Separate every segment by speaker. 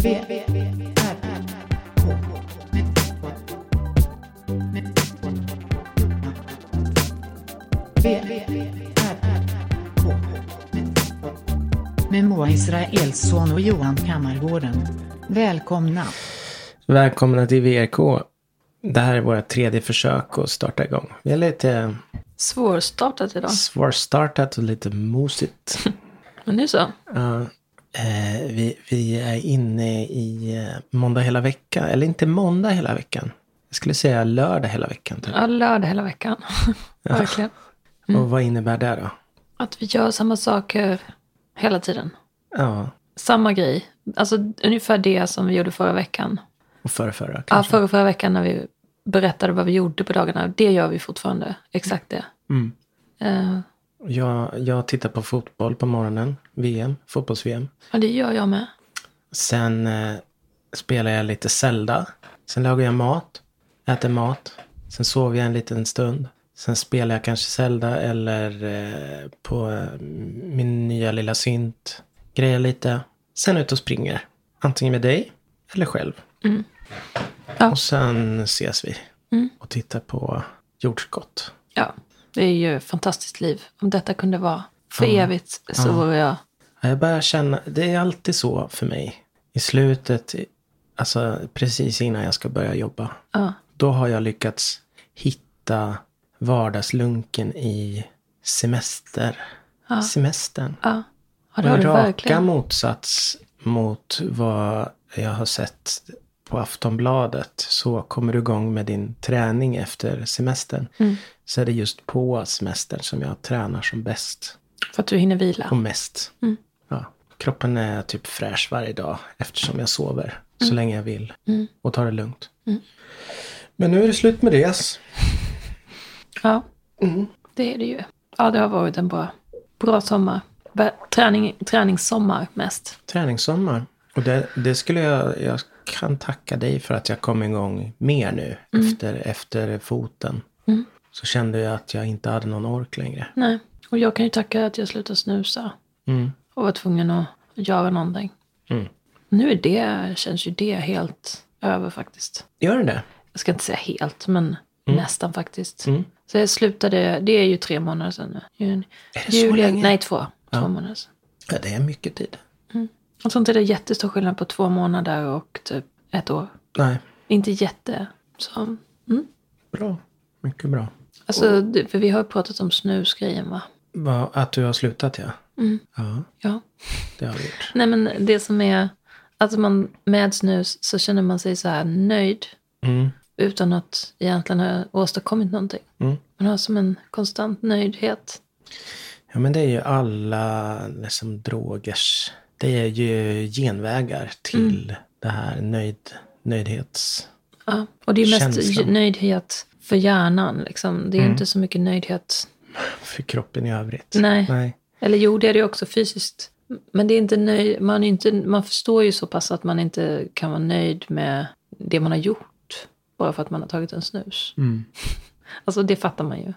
Speaker 1: V, R, K. V, R, K. Med Moa Israelsson och Johan Kammargården. Välkomna.
Speaker 2: Välkomna till VRK. Det här är vårt tredje försök att starta igång. Vi är lite
Speaker 3: Svårstartat idag.
Speaker 2: svårstartat och lite mosigt.
Speaker 3: Men det är så.
Speaker 2: Ja, eh, vi, vi är inne i eh, måndag hela veckan. Eller inte måndag hela veckan. Jag skulle säga lördag hela veckan. Typ.
Speaker 3: Ja, lördag hela veckan. Verkligen.
Speaker 2: Och vad innebär det då?
Speaker 3: Att vi gör samma saker hela tiden.
Speaker 2: Ja,
Speaker 3: Samma grej. Alltså ungefär det som vi gjorde förra veckan.
Speaker 2: och förra, förra
Speaker 3: Ja,
Speaker 2: kanske.
Speaker 3: förra, förra veckan när vi berättade vad vi gjorde på dagarna. Det gör vi fortfarande. Exakt det.
Speaker 2: Mm.
Speaker 3: Eh,
Speaker 2: Jag, jag tittar på fotboll på morgonen. VM, fotbolls-VM.
Speaker 3: Ja, det gör jag med.
Speaker 2: Sen eh, spelar jag lite Zelda. Sen lagar jag mat. Äter mat. Sen sover jag en liten stund. Sen spelar jag kanske Zelda eller eh, på eh, min nya lilla synt. Grejer lite. Sen ut och springer. Antingen med dig eller själv.
Speaker 3: Ja.
Speaker 2: Och sen ses vi. Och tittar på jordskott.
Speaker 3: Ja, det är ju ett fantastiskt liv. Om detta kunde vara för
Speaker 2: Ja.
Speaker 3: evigt så
Speaker 2: Mm. Ja.
Speaker 3: vore jag...
Speaker 2: Ja, Jag börjar känna, det är alltid så för mig. I slutet, i- alltså precis innan jag ska börja jobba.
Speaker 3: Ja.
Speaker 2: Då har jag lyckats hitta vardagslunken i semester. Semestern.
Speaker 3: Ja, ja det
Speaker 2: Den
Speaker 3: har du
Speaker 2: raka
Speaker 3: verkligen.
Speaker 2: motsats mot vad jag har sett på Aftonbladet. Så kommer du igång med din träning efter semestern.
Speaker 3: Mm.
Speaker 2: Så är det just på semestern som jag tränar som bäst
Speaker 3: För att du hinner vila.
Speaker 2: och mest.
Speaker 3: Mm.
Speaker 2: Ja. Kroppen är typ fräsch varje dag eftersom jag sover så
Speaker 3: Mm.
Speaker 2: länge jag vill och tar det lugnt. Men nu är det slut med det.
Speaker 3: Ja,
Speaker 2: Mm.
Speaker 3: det är det ju. Ja, det har varit en bra, bra sommar. Bä- Träning, träningssommar mest.
Speaker 2: Träningssommar. Och det, det skulle jag, jag kan tacka dig för att jag kom igång mer nu
Speaker 3: Mm.
Speaker 2: efter, efter foten. Så kände jag att jag inte hade någon ork längre.
Speaker 3: Nej, och jag kan ju tacka att jag slutade snusa
Speaker 2: Mm.
Speaker 3: och var tvungen att göra någonting.
Speaker 2: Mm.
Speaker 3: Nu är det, känns ju det helt över faktiskt.
Speaker 2: Gör den det?
Speaker 3: Jag ska inte säga helt, men nästan faktiskt.
Speaker 2: Mm.
Speaker 3: Så jag slutade, det är ju tre månader sedan nu. Juni.
Speaker 2: Är det så länge?
Speaker 3: Nej, två. Två
Speaker 2: Ja.
Speaker 3: månader sedan.
Speaker 2: Ja, det är mycket tid.
Speaker 3: Jag tror inte det är jättestor skillnad på två månader och typ ett år.
Speaker 2: Nej,
Speaker 3: Inte jätte. Så, mm.
Speaker 2: bra. Mycket bra.
Speaker 3: Alltså, det- för vi har ju pratat om snusgrejen va?
Speaker 2: Va, att du har slutat ja.
Speaker 3: Mm.
Speaker 2: Ja,
Speaker 3: Ja.
Speaker 2: det har vi gjort.
Speaker 3: Nej men det som är, alltså man med snus så känner man sig så här nöjd
Speaker 2: Mm.
Speaker 3: utan att egentligen ha åstadkommit någonting.
Speaker 2: Mm.
Speaker 3: Man har som en konstant nöjdhet.
Speaker 2: Ja, men det är ju alla liksom, drogers... Det är ju genvägar till
Speaker 3: Mm.
Speaker 2: det här nöjd, nöjdhets...
Speaker 3: Ja. Och det är ju mest
Speaker 2: Känslan.
Speaker 3: j- nöjdhet för hjärnan liksom. Det är ju inte så mycket nöjdhet.
Speaker 2: För kroppen i övrigt.
Speaker 3: Nej.
Speaker 2: Nej.
Speaker 3: Eller jo, det är det ju också fysiskt. Men det är inte nöjd, man, är inte, man förstår ju så pass att man inte kan vara nöjd med det man har gjort. Bara för att man har tagit en snus.
Speaker 2: Mm.
Speaker 3: Alltså det fattar man ju.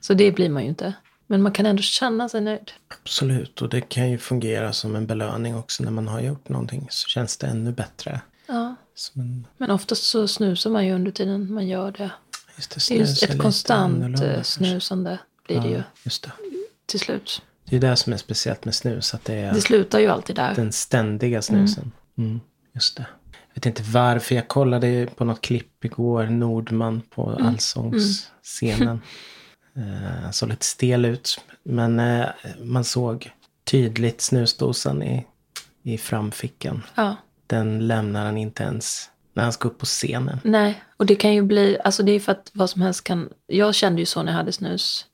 Speaker 3: Så det blir man ju inte. Men man kan ändå känna sig nöjd.
Speaker 2: Absolut. Och det kan ju fungera som en belöning också när man har gjort någonting. Så känns det ännu bättre.
Speaker 3: Ja.
Speaker 2: Som en,
Speaker 3: Men oftast så snusar man ju under tiden man gör det.
Speaker 2: just det,
Speaker 3: Det är
Speaker 2: snus
Speaker 3: ju
Speaker 2: är
Speaker 3: ett
Speaker 2: lite
Speaker 3: konstant
Speaker 2: annorlunda
Speaker 3: eh,
Speaker 2: kanske.
Speaker 3: snusande blir det ju
Speaker 2: Ja, just det.
Speaker 3: till slut.
Speaker 2: Det är det som är speciellt med snus. Att det är...
Speaker 3: Det slutar ju alltid där.
Speaker 2: Den ständiga snusen. Mm. Just det. Jag vet inte varför. Jag kollade ju på något klipp igår. Nordman på
Speaker 3: Mm.
Speaker 2: allsångsscenen. Eh, Han såg lite stel ut. Men eh, man såg tydligt snusdosan i, i framfickan.
Speaker 3: Ja.
Speaker 2: Den lämnar han inte ens när han ska upp på scenen.
Speaker 3: Nej, och det kan ju bli, alltså det är ju för att vad som helst kan, jag kände ju så när jag hade snus.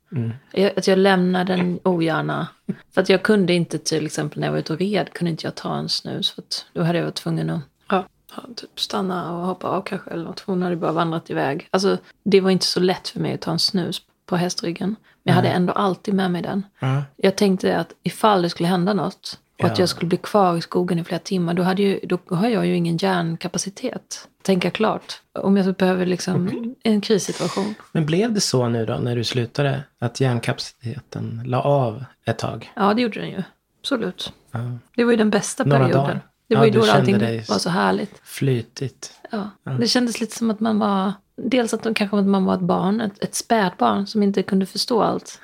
Speaker 3: Jag, att jag lämnade den ogärna. För att jag kunde inte till exempel när jag var ute och red, kunde inte jag ta en snus. För att då hade jag varit tvungen att ja, ha- typ stanna och hoppa av kanske eller något. för Hon hade bara vandrat iväg. Alltså det var inte så lätt för mig att ta en snus på hästryggen. Men jag hade ändå alltid med mig den.
Speaker 2: Ja.
Speaker 3: Jag tänkte att ifall det skulle hända något och att
Speaker 2: Ja.
Speaker 3: jag skulle bli kvar i skogen i flera timmar, då, hade ju, då har jag ju ingen hjärnkapacitet. att Tänka klart. Om jag så behöver liksom en krissituation.
Speaker 2: Men blev det så nu då när du slutade? Att hjärnkapaciteten la av ett tag?
Speaker 3: Ja, det gjorde den ju. Absolut.
Speaker 2: Ja.
Speaker 3: Det var ju den bästa
Speaker 2: Några
Speaker 3: perioden.
Speaker 2: dagar.
Speaker 3: Det
Speaker 2: Ja,
Speaker 3: var ju
Speaker 2: du
Speaker 3: då
Speaker 2: kände
Speaker 3: allting
Speaker 2: dig-
Speaker 3: var så härligt.
Speaker 2: Flytigt.
Speaker 3: Ja. Det kändes lite som att man var... Dels att de kanske att man var ett barn, ett, ett spädbarn som inte kunde förstå allt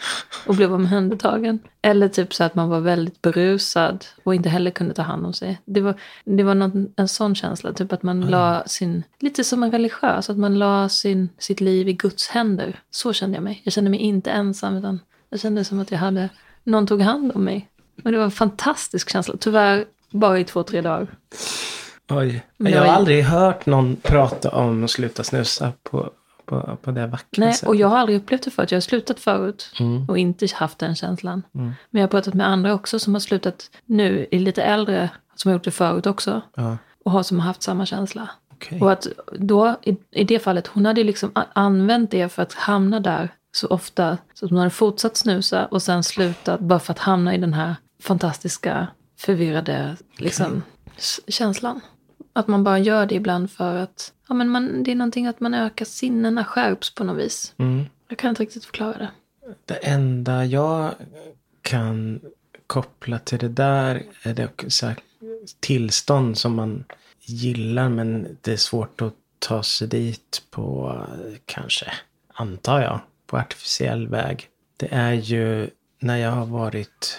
Speaker 3: och blev omhändertagen. Eller typ så att man var väldigt berusad och inte heller kunde ta hand om sig. Det var, det var någon, en sån känsla, typ att man la sin... Lite som en religiös, att man la sin, sitt liv i Guds händer. Så kände jag mig. Jag kände mig inte ensam, utan jag kände som att jag hade... Någon tog hand om mig. Och det var en fantastisk känsla. Tyvärr bara i två, tre dagar.
Speaker 2: Oj.
Speaker 3: Men
Speaker 2: Jag har
Speaker 3: jag är-
Speaker 2: aldrig hört någon prata om att sluta snusa på, på, på det vackra
Speaker 3: Nej,
Speaker 2: sättet.
Speaker 3: och jag har aldrig upplevt det förut. Jag har slutat förut
Speaker 2: Mm.
Speaker 3: och inte haft den känslan. Men jag har pratat med andra också som har slutat nu, i lite äldre, som har gjort det förut också.
Speaker 2: Ja,
Speaker 3: Och har som har haft samma känsla.
Speaker 2: okej.
Speaker 3: Och att då, i, i det fallet, hon hade ju liksom a- använt det för att hamna där så ofta. Så att hon hade fortsatt snusa och sen slutat bara för att hamna i den här fantastiska, förvirrade liksom, s- känslan. Att man bara gör det ibland för att ja, men man, det är någonting att man ökar sinnena, skärps på något vis.
Speaker 2: Mm.
Speaker 3: Jag kan inte riktigt förklara det.
Speaker 2: Det enda jag kan koppla till det där är det också så här tillstånd som man gillar men det är svårt att ta sig dit på eh, kanske, antar jag, på artificiell väg. Det är ju när jag har varit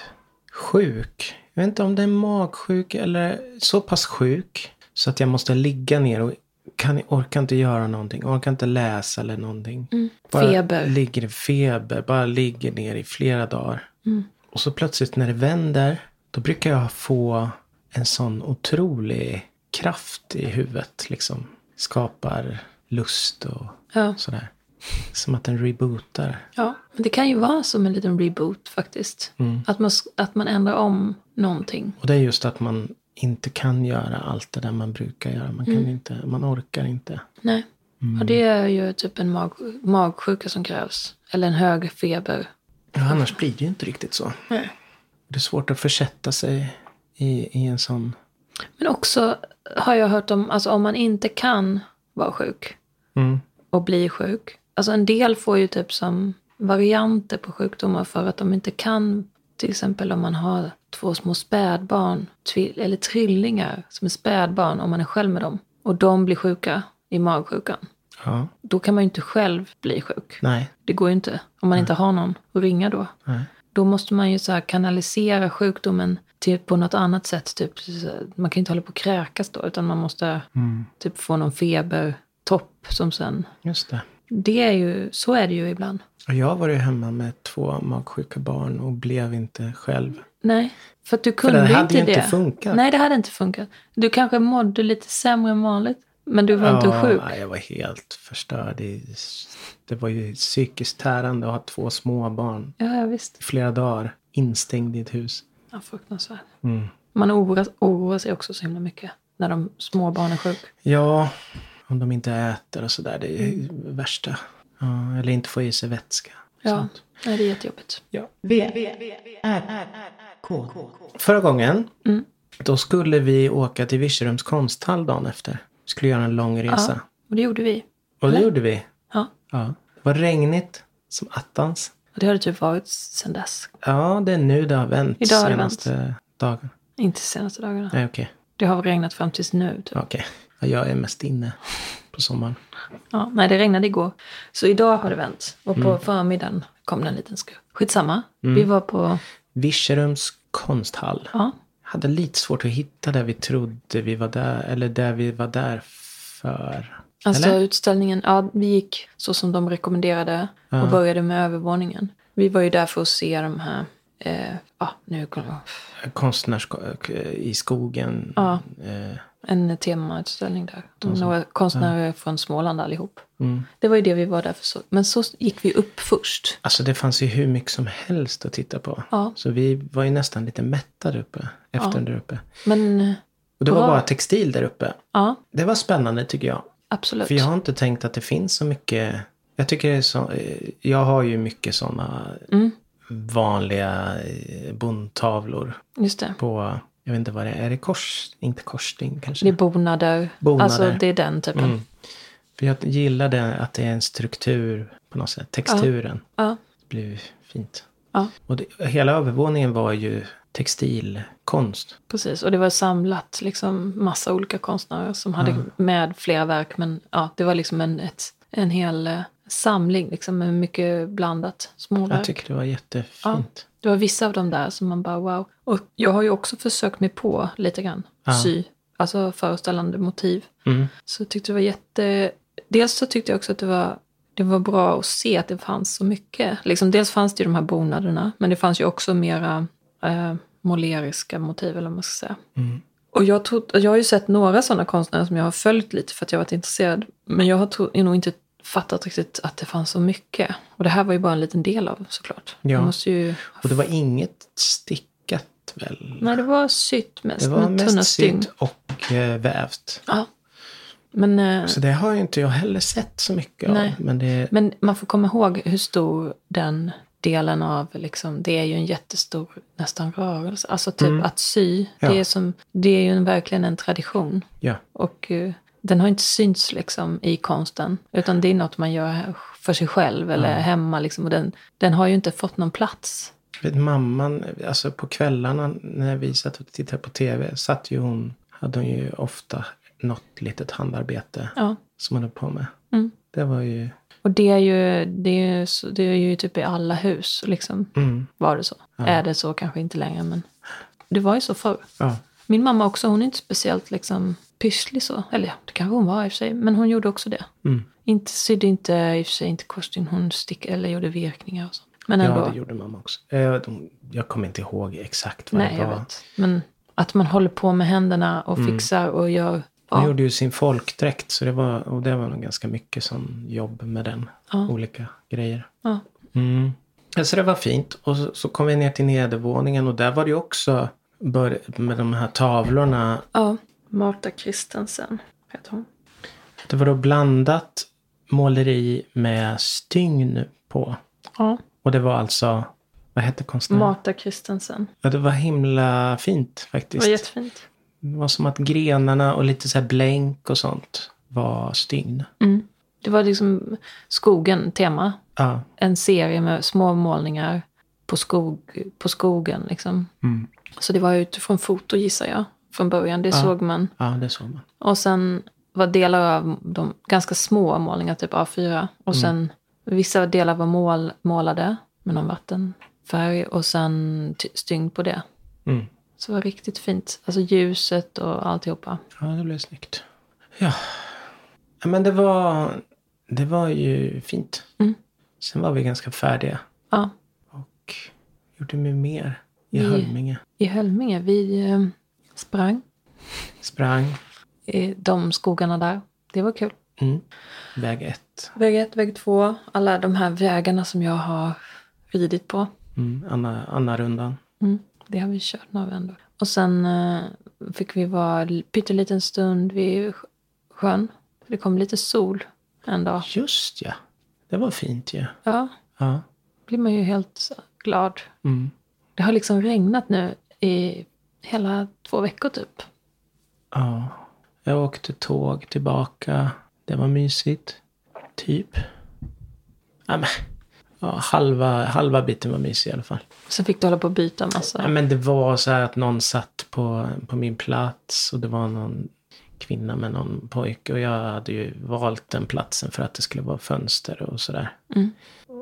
Speaker 2: sjuk. Jag vet inte om det är magsjuk eller så pass sjuk så att jag måste ligga ner och kan, orkar inte göra någonting. Orkar inte läsa eller någonting. Bara
Speaker 3: Feber.
Speaker 2: ligger i feber, bara ligger ner i flera dagar. Och så plötsligt när det vänder, då brukar jag få en sån otrolig kraft i huvudet. Liksom. Skapar lust och
Speaker 3: Ja.
Speaker 2: sådär. Som att den rebootar.
Speaker 3: Ja, men det kan ju vara som en liten reboot faktiskt. Att, man, s- att man ändrar om någonting.
Speaker 2: Och det är just att man inte kan göra allt det där man brukar göra. Man, kan inte, man orkar inte.
Speaker 3: Nej. Och det är ju typ en mag, magsjuka som krävs. Eller en hög feber.
Speaker 2: Ja, annars blir det ju inte riktigt så. Det är svårt att försätta sig i, i en sån...
Speaker 3: Men också har jag hört om, alltså om man inte kan vara sjuk
Speaker 2: Mm.
Speaker 3: och bli sjuk. Alltså en del får ju typ som varianter på sjukdomar för att de inte kan. Till exempel om man har två små spädbarn tvi- eller trillingar som är spädbarn om man är själv med dem. Och de blir sjuka i magsjukan.
Speaker 2: Ja,
Speaker 3: Då kan man ju inte själv bli sjuk.
Speaker 2: nej.
Speaker 3: Det går ju inte om man inte har någon att ringa då.
Speaker 2: nej.
Speaker 3: Då måste man ju så här kanalisera sjukdomen till, på något annat sätt. Typ. så här, Man kan ju inte hålla på och kräkas då, utan man måste
Speaker 2: Mm.
Speaker 3: typ få någon febertopp som sen...
Speaker 2: Just det.
Speaker 3: Det är ju, så är det ju ibland.
Speaker 2: Och jag var ju hemma med två magsjuka barn och blev inte själv.
Speaker 3: Nej, för att du
Speaker 2: För det
Speaker 3: kunde
Speaker 2: hade
Speaker 3: inte
Speaker 2: ju
Speaker 3: det.
Speaker 2: inte funkat.
Speaker 3: Nej, det hade inte funkat. Du kanske mådde lite sämre än vanligt, men du var inte sjuk.
Speaker 2: nej, jag var helt förstörd. i- Det var ju psykiskt tärande att ha två små barn
Speaker 3: Ja, ja, visst.
Speaker 2: i flera dagar instängd i ett hus.
Speaker 3: Ja, fruktansvärt.
Speaker 2: Mm.
Speaker 3: Man oroar, oroar sig också så himla mycket när de små barn är sjuka.
Speaker 2: Ja, om de inte äter och sådär. Det är ju det värsta. Ja, eller inte få i sig vätska.
Speaker 3: Ja, nej, det är jättejobbigt.
Speaker 1: V, V, V, R, R, R, K.
Speaker 2: Förra gången,
Speaker 3: Mm.
Speaker 2: då skulle vi åka till Virserums konsthall dagen efter. Vi skulle göra en lång resa.
Speaker 3: Och det gjorde vi.
Speaker 2: Och det
Speaker 3: Eller?
Speaker 2: gjorde vi.
Speaker 3: Ja.
Speaker 2: Ja. Det var regnigt som attans.
Speaker 3: Och det har det typ varit sedan dess.
Speaker 2: Ja, det är nu det har vänt
Speaker 3: Idag har det
Speaker 2: senaste dagen.
Speaker 3: Inte senaste dagarna.
Speaker 2: Nej, okej.
Speaker 3: Det har regnat fram tills nu. Typ.
Speaker 2: Okej. Ja, Jag är mest inne på sommaren.
Speaker 3: Ja, nej, det regnade igår. Så idag har det vänt. Och
Speaker 2: Mm.
Speaker 3: på förmiddagen kom det en liten skur. Skitsamma. Vi var på...
Speaker 2: Virserums konsthall.
Speaker 3: Ja,
Speaker 2: Hade lite svårt att hitta där vi trodde vi var där. Eller där vi var där för.
Speaker 3: alltså
Speaker 2: Eller?
Speaker 3: utställningen. Ja, vi gick så som de rekommenderade. Och började med övervåningen. Vi var ju där för att se de här... Eh, ja, nu kommer jag...
Speaker 2: Konstnärs i skogen.
Speaker 3: Ja.
Speaker 2: Eh,
Speaker 3: En temautställning där. De några konstnärer från Småland allihop.
Speaker 2: Alltså. Mm.
Speaker 3: Det var ju det vi var där för. Så. Men så gick vi upp först.
Speaker 2: Alltså det fanns ju hur mycket som helst att titta på.
Speaker 3: Ja.
Speaker 2: Så vi var ju nästan lite mätta där uppe. Efter där uppe.
Speaker 3: Men
Speaker 2: Och det var
Speaker 3: Bra.
Speaker 2: bara textil där uppe.
Speaker 3: ja,
Speaker 2: Det var spännande tycker jag.
Speaker 3: absolut.
Speaker 2: För jag har inte tänkt att det finns så mycket. Jag tycker det är så. eh, Jag har ju mycket sådana
Speaker 3: Mm.
Speaker 2: vanliga eh, bondtavlor
Speaker 3: Just det.
Speaker 2: på, jag vet inte vad det är, är det kors? Inte korsting kanske?
Speaker 3: Det är bonader.
Speaker 2: Bonader.
Speaker 3: Alltså det är den typen.
Speaker 2: Mm. För jag gillar det att det är en struktur på något sätt, texturen.
Speaker 3: Ja.
Speaker 2: Det blir fint.
Speaker 3: Ja.
Speaker 2: Och det, hela övervåningen var ju textilkonst.
Speaker 3: Precis, och det var samlat liksom massa olika konstnärer som hade
Speaker 2: Mm.
Speaker 3: med flera verk. Men ja, det var liksom en, ett, en hel eh, samling liksom med mycket blandat
Speaker 2: Jag
Speaker 3: småverk.
Speaker 2: tycker det var jättefint.
Speaker 3: Det var vissa av dem där som man bara wow. Och jag har ju också försökt mig på lite grann
Speaker 2: Ja.
Speaker 3: sy, alltså föreställande motiv.
Speaker 2: Mm.
Speaker 3: Så jag tyckte det var jätte... Dels så tyckte jag också att det var, det var bra att se att det fanns så mycket. Liksom, dels fanns det ju de här bonaderna, men det fanns ju också mera eh, måleriska motiv, eller vad man ska säga.
Speaker 2: Mm.
Speaker 3: Och jag, tro, jag har ju sett några sådana konstnärer som jag har följt lite för att jag har varit intresserad. Men jag har tro, jag nog inte fattat riktigt att det fanns så mycket. Och det här var ju bara en liten del av såklart.
Speaker 2: Ja.
Speaker 3: Jag måste ju...
Speaker 2: Och det var inget stickat väl?
Speaker 3: Nej, det var sytt mest.
Speaker 2: det var
Speaker 3: med tunna
Speaker 2: mest
Speaker 3: stygn.
Speaker 2: sytt och eh, vävt.
Speaker 3: Ja. Men, eh,
Speaker 2: Så det har ju inte jag heller sett så mycket av.
Speaker 3: Nej.
Speaker 2: Men det,
Speaker 3: men man får komma ihåg hur stor den delen av, liksom, det är ju en jättestor nästan rörelse. Alltså typ
Speaker 2: Mm.
Speaker 3: att sy,
Speaker 2: Ja.
Speaker 3: det, är som, det är ju en, verkligen en tradition.
Speaker 2: ja.
Speaker 3: Och eh, den har inte synts liksom, i konsten. Utan det är något man gör för sig själv eller
Speaker 2: Mm.
Speaker 3: hemma. Liksom, och den, den har ju inte fått någon plats.
Speaker 2: Vet, mamman, alltså på kvällarna när vi satt och tittade på tv, satt ju hon, hade hon ju ofta något litet handarbete
Speaker 3: Ja.
Speaker 2: som hon höll på med.
Speaker 3: Mm.
Speaker 2: Det var ju...
Speaker 3: Och det är, ju, det, är ju, så- det är ju typ i alla hus. Liksom,
Speaker 2: Mm,
Speaker 3: var det så. Är det så kanske inte längre. Men det var ju så förr.
Speaker 2: ja.
Speaker 3: Min mamma också, hon är inte speciellt liksom pysslig så. Eller ja, det kanske hon var i och för sig. Men hon gjorde också det.
Speaker 2: Mm.
Speaker 3: Inte sydde inte i och för sig inte korsstygn. Hon stick, eller gjorde virkningar och så. Men ändå.
Speaker 2: ja, det gjorde mamma också. Eh, de- Jag kommer inte ihåg exakt vad
Speaker 3: Nej,
Speaker 2: det
Speaker 3: jag
Speaker 2: var.
Speaker 3: vet. Men att man håller på med händerna och fixar och gör.
Speaker 2: Mm. Hon
Speaker 3: Ja,
Speaker 2: gjorde ju sin folkdräkt så det var, och det var nog ganska mycket som jobb med den.
Speaker 3: Ja.
Speaker 2: Olika grejer.
Speaker 3: ja.
Speaker 2: Mm. Alltså det var fint. Och så, så kom vi ner till nedervåningen och där var det ju också bör, med de här tavlorna.
Speaker 3: ja. Marta Kristensen heter hon.
Speaker 2: Det var då blandat måleri med stygn på.
Speaker 3: Ja,
Speaker 2: Och det var alltså, vad hette konstnären?
Speaker 3: Marta Kristensen.
Speaker 2: Ja, det var himla fint
Speaker 3: Det
Speaker 2: faktiskt.
Speaker 3: var jättefint.
Speaker 2: Det var som att grenarna och lite så här blänk och sånt var stygn.
Speaker 3: Mm. Det var liksom skogen tema.
Speaker 2: Ja.
Speaker 3: en serie med små målningar på, skog, på skogen. Liksom.
Speaker 2: Mm.
Speaker 3: Så det var utifrån foto gissar jag från början. Det såg man.
Speaker 2: ja, det såg man.
Speaker 3: Och sen var delar av de ganska små målningar, typ A4. Och sen vissa delar var mål, målade med någon vattenfärg och sen ty- stygn på det.
Speaker 2: Mm.
Speaker 3: Så det var riktigt fint. Alltså ljuset och alltihopa.
Speaker 2: Ja, det blev snyggt. Ja. Ja, Men det var, det var ju fint.
Speaker 3: Mm.
Speaker 2: Sen var vi ganska färdiga.
Speaker 3: Ja,
Speaker 2: Och gjorde vi mer i
Speaker 3: Vi-
Speaker 2: Hölminge.
Speaker 3: i Hölminge, vi eh, sprang
Speaker 2: Sprang.
Speaker 3: i de skogarna där. Det var kul.
Speaker 2: Mm. Väg ett.
Speaker 3: Väg ett, väg två, alla de här vägarna som jag har ridit på.
Speaker 2: Mm. Anna, Anna-rundan.
Speaker 3: Mm, det har vi kört några vändor. Och sen eh, fick vi vara l- pytteliten stund vid sj- sjön. Det kom lite sol en dag.
Speaker 2: Just ja. Det var fint ju. Ja.
Speaker 3: Ja,
Speaker 2: ja.
Speaker 3: blir man ju helt så glad.
Speaker 2: Mm.
Speaker 3: Det har liksom regnat nu i hela två veckor typ.
Speaker 2: Ja. Jag åkte tåg tillbaka. Det var mysigt. Typ. Ja, men. Ja, halva, halva biten var mysig i alla fall.
Speaker 3: Sen fick du hålla på och byta
Speaker 2: Ja,
Speaker 3: massa.
Speaker 2: men det var så här att någon satt på, på min plats och det var någon kvinna med någon pojke. Och jag hade ju valt den platsen för att det skulle vara fönster och sådär.
Speaker 3: Mm.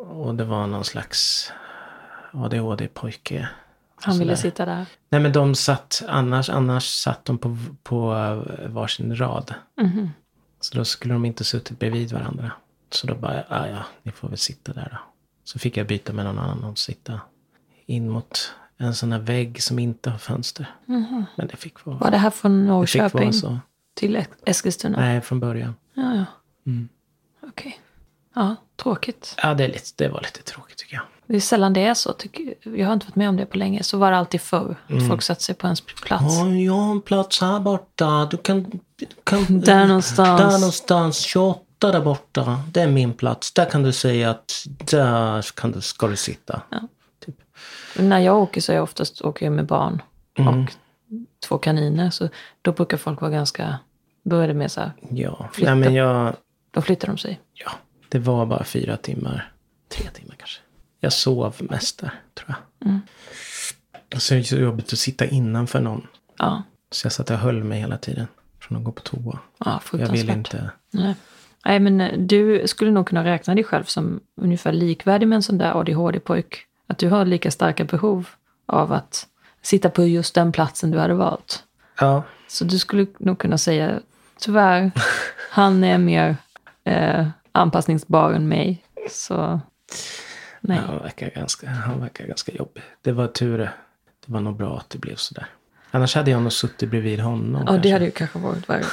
Speaker 2: Och det var någon slags ADHD-pojke.
Speaker 3: Han ville
Speaker 2: sådär.
Speaker 3: sitta där.
Speaker 2: Nej men de satt, annars, annars satt de på, på eh, varsin rad.
Speaker 3: Mhm.
Speaker 2: Så då skulle de inte suttit bredvid varandra. Så då bara, ja ja, ni får väl sitta där då. Så fick jag byta med någon annan och sitta in mot en sån här vägg som inte har fönster.
Speaker 3: Mhm.
Speaker 2: Men det fick vara,
Speaker 3: Var det här från
Speaker 2: det fick
Speaker 3: Norrköping
Speaker 2: vara så.
Speaker 3: till Es- Eskilstuna?
Speaker 2: Nej, från början.
Speaker 3: Ja, ja.
Speaker 2: Mm.
Speaker 3: Okej. Ja, tråkigt.
Speaker 2: Ja, det, är lite, det var lite tråkigt tycker jag.
Speaker 3: Det är sällan det är så. Tycker jag. jag har inte varit med om det på länge. Så var det alltid förr. att Folk satte sig på ens plats.
Speaker 2: Mm. Ja, jag har en plats här borta. Du kan... Du kan
Speaker 3: Där någonstans.
Speaker 2: Där någonstans. 28 där borta. Det är min plats. Där kan du säga att där kan du, ska du sitta.
Speaker 3: När jag åker så är jag oftast åker jag med barn
Speaker 2: Mm.
Speaker 3: och två kaniner. Så då brukar folk vara ganska... Då är det mer så här,
Speaker 2: Ja,
Speaker 3: Flytta.
Speaker 2: Nej, men jag,
Speaker 3: då flyttar de sig.
Speaker 2: ja, det var bara fyra
Speaker 3: Mm.
Speaker 2: timmar. Tre timmar kanske. Alltså, Jag sov mest där, tror jag. Så är det så jobbigt att sitta innanför någon.
Speaker 3: Ja,
Speaker 2: Så jag satt och höll mig hela tiden från att gå på toa.
Speaker 3: ja
Speaker 2: Jag
Speaker 3: fruktansvärt.
Speaker 2: vill inte.
Speaker 3: Nej. Nej, men eh, du skulle nog kunna räkna dig själv som ungefär likvärdig med en sån där ADHD-pojk. Att du har lika starka behov av att sitta på just den platsen du hade valt.
Speaker 2: Ja,
Speaker 3: Så du skulle nog kunna säga, tyvärr, han är mer eh, anpassningsbar än mig. Så nej.
Speaker 2: han verkar, ganska, han verkar ganska jobbig. Det var tur det. Det var nog bra att det blev sådär. Annars hade jag nog suttit bredvid honom.
Speaker 3: Ja, det
Speaker 2: kanske.
Speaker 3: hade ju kanske varit värre.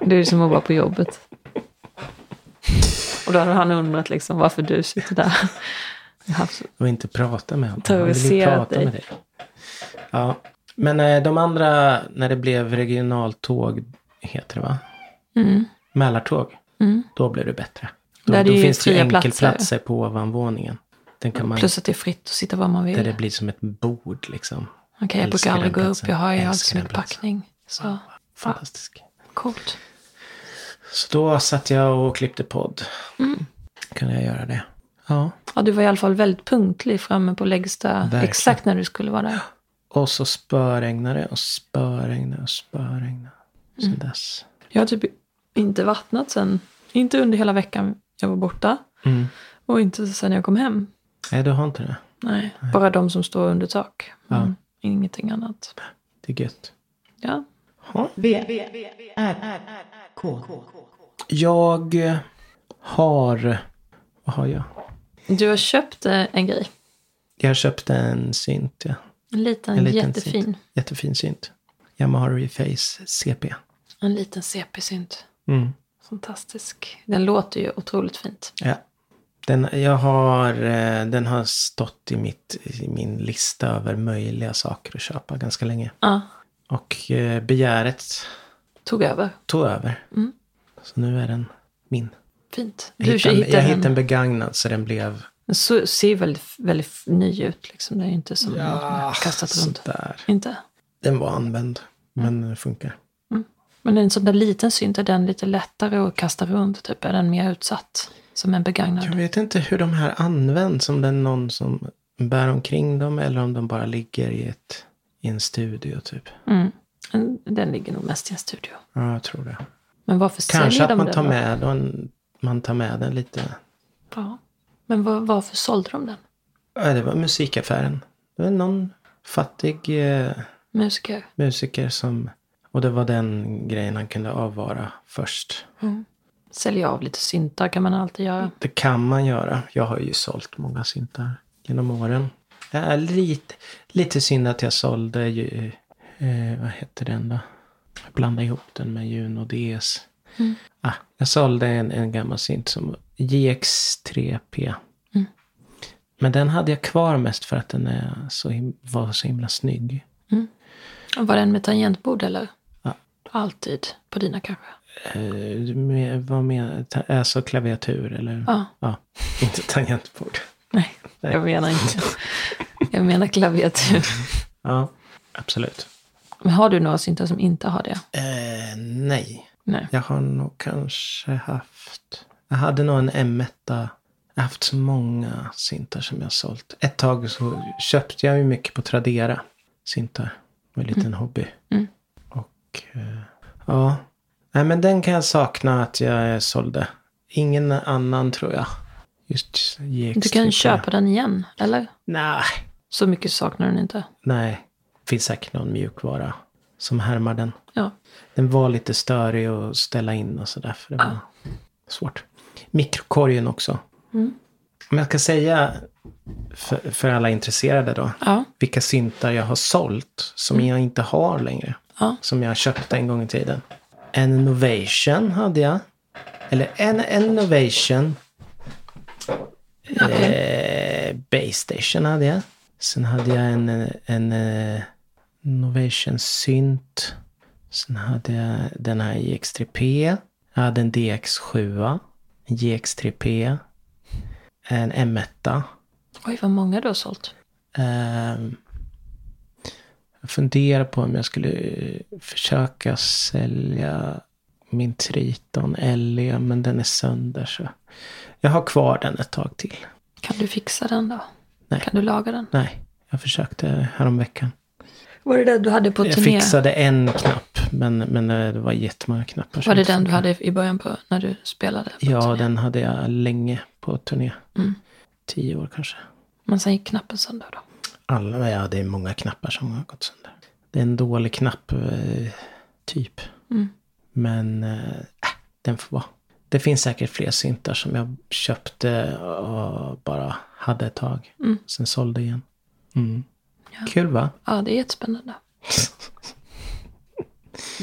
Speaker 3: Det är ju som att vara på jobbet. Och då hade han undrat liksom varför du sitter där. Jag har haft-
Speaker 2: Och inte prata med honom. Han vill ju
Speaker 3: Terroriserat
Speaker 2: prata
Speaker 3: dig.
Speaker 2: med dig. Ja. Men eh, de andra, när det blev regionaltåg, heter det va?
Speaker 3: Mm.
Speaker 2: Mälartåg.
Speaker 3: Mm.
Speaker 2: Då blev det bättre. Då,
Speaker 3: Där är
Speaker 2: då
Speaker 3: det ju
Speaker 2: finns det ju
Speaker 3: fria
Speaker 2: enkelplatser
Speaker 3: platser.
Speaker 2: på ovanvåningen. Den kan man,
Speaker 3: Plus att det är fritt att sitta var man vill.
Speaker 2: där det blir som ett bord liksom.
Speaker 3: Okej, jag
Speaker 2: älskar
Speaker 3: brukar aldrig gå
Speaker 2: den
Speaker 3: upp.
Speaker 2: platsen.
Speaker 3: Jag har ju alltid
Speaker 2: Älskar
Speaker 3: så
Speaker 2: den
Speaker 3: mycket
Speaker 2: platsen.
Speaker 3: packning. Så
Speaker 2: Fantastiskt.
Speaker 3: coolt.
Speaker 2: Så då satt jag och klippte podd. Kunde jag göra det? Ja.
Speaker 3: Ja, du var i alla fall väldigt punktlig framme på Läggsta.
Speaker 2: Verkligen.
Speaker 3: Exakt när du skulle vara där.
Speaker 2: Och så spöregnade det och spöregnade och spöregnade. Sen
Speaker 3: Mm.
Speaker 2: dess.
Speaker 3: Jag har typ inte vattnat sen. Inte under hela veckan jag var borta.
Speaker 2: Mm.
Speaker 3: Och inte sen jag kom hem.
Speaker 2: Nej, du har inte det.
Speaker 3: Nej, bara de som står under tak.
Speaker 2: Ja.
Speaker 3: Mm. Ingenting annat.
Speaker 2: Det är gött.
Speaker 3: Ja.
Speaker 2: Ja.
Speaker 1: V, V, R, R, K.
Speaker 2: Jag eh, har... Vad har jag?
Speaker 3: Du har köpt eh, en grej.
Speaker 2: Jag köpte en synt, ja.
Speaker 3: En liten,
Speaker 2: En liten
Speaker 3: jättefin.
Speaker 2: synt. Jättefin synt. Yamaha Reface CP.
Speaker 3: En liten CP-synt.
Speaker 2: Mm.
Speaker 3: Fantastisk. Den låter ju otroligt fint.
Speaker 2: Ja. Den, jag har, eh, den har stått i, mitt, i min lista över möjliga saker att köpa ganska länge.
Speaker 3: Ja,
Speaker 2: Och eh, begäret
Speaker 3: tog över.
Speaker 2: tog över.
Speaker 3: Mm.
Speaker 2: Så nu är den min.
Speaker 3: Fint.
Speaker 2: Jag
Speaker 3: Du
Speaker 2: hittade, jag
Speaker 3: hittade
Speaker 2: hittade en
Speaker 3: den.
Speaker 2: begagnad så den blev
Speaker 3: Den så- ser väldigt, väldigt ny ut. Liksom. Det är inte som något man har kastat runt. Mm.
Speaker 2: sådär.
Speaker 3: Inte.
Speaker 2: Den var använd, men den funkar.
Speaker 3: Men en sån där liten synt, är den lite lättare att kasta runt? Typ? Är den mer utsatt? Som en begagnad?
Speaker 2: Jag vet inte hur de här används. Om det är någon som bär omkring dem eller om de bara ligger i, ett, i en studio typ.
Speaker 3: Mm. En- Den ligger nog mest i en studio.
Speaker 2: Ja, jag tror det.
Speaker 3: Men varför
Speaker 2: Kanske
Speaker 3: säljer de
Speaker 2: att man
Speaker 3: den
Speaker 2: tar,
Speaker 3: då?
Speaker 2: med den, man tar med den lite.
Speaker 3: Ja. Men var, varför sålde de den?
Speaker 2: Ja, det var musikaffären. Det var någon fattig eh,
Speaker 3: Musiker?
Speaker 2: musiker som... Och det var den grejen han kunde avvara först.
Speaker 3: Sälja av lite syntar kan man alltid göra.
Speaker 2: Det kan man göra. Jag har ju sålt många syntar genom åren. Det är lite, lite synd att jag sålde ju, eh, vad hette den då? Jag blandade ihop den med Juno DS. Ah, jag sålde en, en gammal synt som JX3P. Men den hade jag kvar mest för att den är så him- var så himla snygg.
Speaker 3: Var den med tangentbord eller?
Speaker 2: Mm. Ja.
Speaker 3: Alltid. På dina kanske?
Speaker 2: Eh, med, vad menar ta- Alltså klaviatur eller?
Speaker 3: Ja.
Speaker 2: ja inte tangentbord.
Speaker 3: Nej, jag menar inte. Jag menar klaviatur.
Speaker 2: Ja, absolut.
Speaker 3: Men har du några syntar som inte har det?
Speaker 2: Eh, nej.
Speaker 3: Nej.
Speaker 2: Jag har nog kanske haft... Jag hade nog en M1. Jag har haft så många syntar som jag har sålt. Ett tag så köpte jag ju mycket på Tradera. Syntar. Det var en liten hobby.
Speaker 3: Mm.
Speaker 2: Och eh, ja. Nej men den kan jag sakna att jag sålde. Ingen annan tror jag. Just GX.
Speaker 3: Du kan köpa den igen, eller?
Speaker 2: Nej.
Speaker 3: Så mycket saknar den inte.
Speaker 2: Nej. Finns säkert någon mjukvara som härmar den.
Speaker 3: Ja.
Speaker 2: Den var lite störig att ställa in och sådär. För det var svårt. Mikrokorgen också. Om jag ska säga för, för alla intresserade då.
Speaker 3: Ja.
Speaker 2: Vilka syntar jag har sålt som jag inte har längre.
Speaker 3: Ja.
Speaker 2: Som jag köpte en gång i tiden. En Novation hade jag. Eller en Innovation. Eh, Base Station hade jag. Sen hade jag en, eh, en eh, Novation synt. Sen hade jag den här JX3P. Jag hade en DX7. En JX3P. En M1.
Speaker 3: Oj, vad många du har sålt.
Speaker 2: Ehm, jag funderar på om jag skulle eh, försöka sälja min Triton LE, men den är sönder. Så jag har kvar den ett tag till.
Speaker 3: Kan du fixa den då?
Speaker 2: Nej.
Speaker 3: Kan du laga den?
Speaker 2: Nej, Jag försökte häromveckan.
Speaker 3: Var det den du hade på
Speaker 2: Jag
Speaker 3: turné?
Speaker 2: fixade en knapp, men, men eh, det var jättemånga knappar. som
Speaker 3: Var det
Speaker 2: inte
Speaker 3: den du
Speaker 2: funkade.
Speaker 3: hade i början på när du spelade? på
Speaker 2: Ja,
Speaker 3: turné?
Speaker 2: den hade jag länge på turné.
Speaker 3: Mm.
Speaker 2: Tio år kanske.
Speaker 3: Men sen gick knappen sönder då.
Speaker 2: Alla, ja, det är många knappar som har gått sönder. Det är en dålig knapp, eh, typ.
Speaker 3: Mm.
Speaker 2: Men eh, äh, den får vara. Det finns säkert fler syntar som jag köpte och bara hade ett tag.
Speaker 3: Mm.
Speaker 2: Sen sålde igen. Mm. Kul va?
Speaker 3: Ja, det är jättespännande.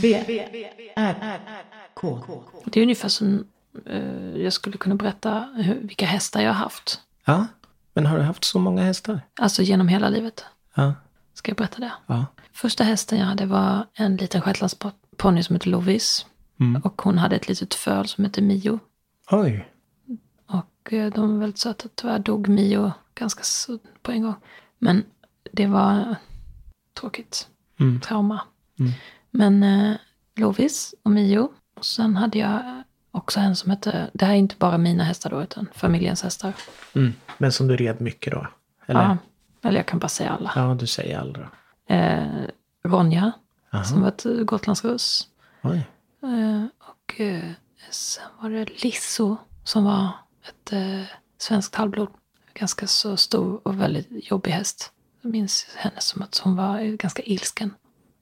Speaker 1: B, R, R, K,
Speaker 3: Det är ungefär som eh, jag skulle kunna berätta hur, vilka hästar jag har haft.
Speaker 2: Ja, men har du haft så många hästar?
Speaker 3: Alltså genom hela livet.
Speaker 2: Ja.
Speaker 3: Ska jag berätta det?
Speaker 2: ja.
Speaker 3: Första hästen jag hade var en liten shetlandsponny som hette Lovis.
Speaker 2: Mm.
Speaker 3: Och hon hade ett litet föl som hette Mio.
Speaker 2: Oj.
Speaker 3: Och eh, de var väldigt söta. Tyvärr dog Mio ganska så på en gång. Men det var tråkigt.
Speaker 2: Mm.
Speaker 3: Trauma.
Speaker 2: Mm.
Speaker 3: Men eh, Lovis och Mio. Och sen hade jag också en som hette... Det här är inte bara mina hästar då, utan familjens hästar.
Speaker 2: Mm. Men som du red mycket då? Eller?
Speaker 3: Ja, eller jag kan bara säga alla.
Speaker 2: Ja, du säger aldrig.
Speaker 3: Eh, Ronja,
Speaker 2: Aha.
Speaker 3: som var ett gotlandsruss.
Speaker 2: Oj.
Speaker 3: Eh, och eh, sen var det Lisso som var ett eh, svenskt halvblod. Ganska så stor och väldigt jobbig häst. Jag minns henne som att hon var eh, ganska ilsken.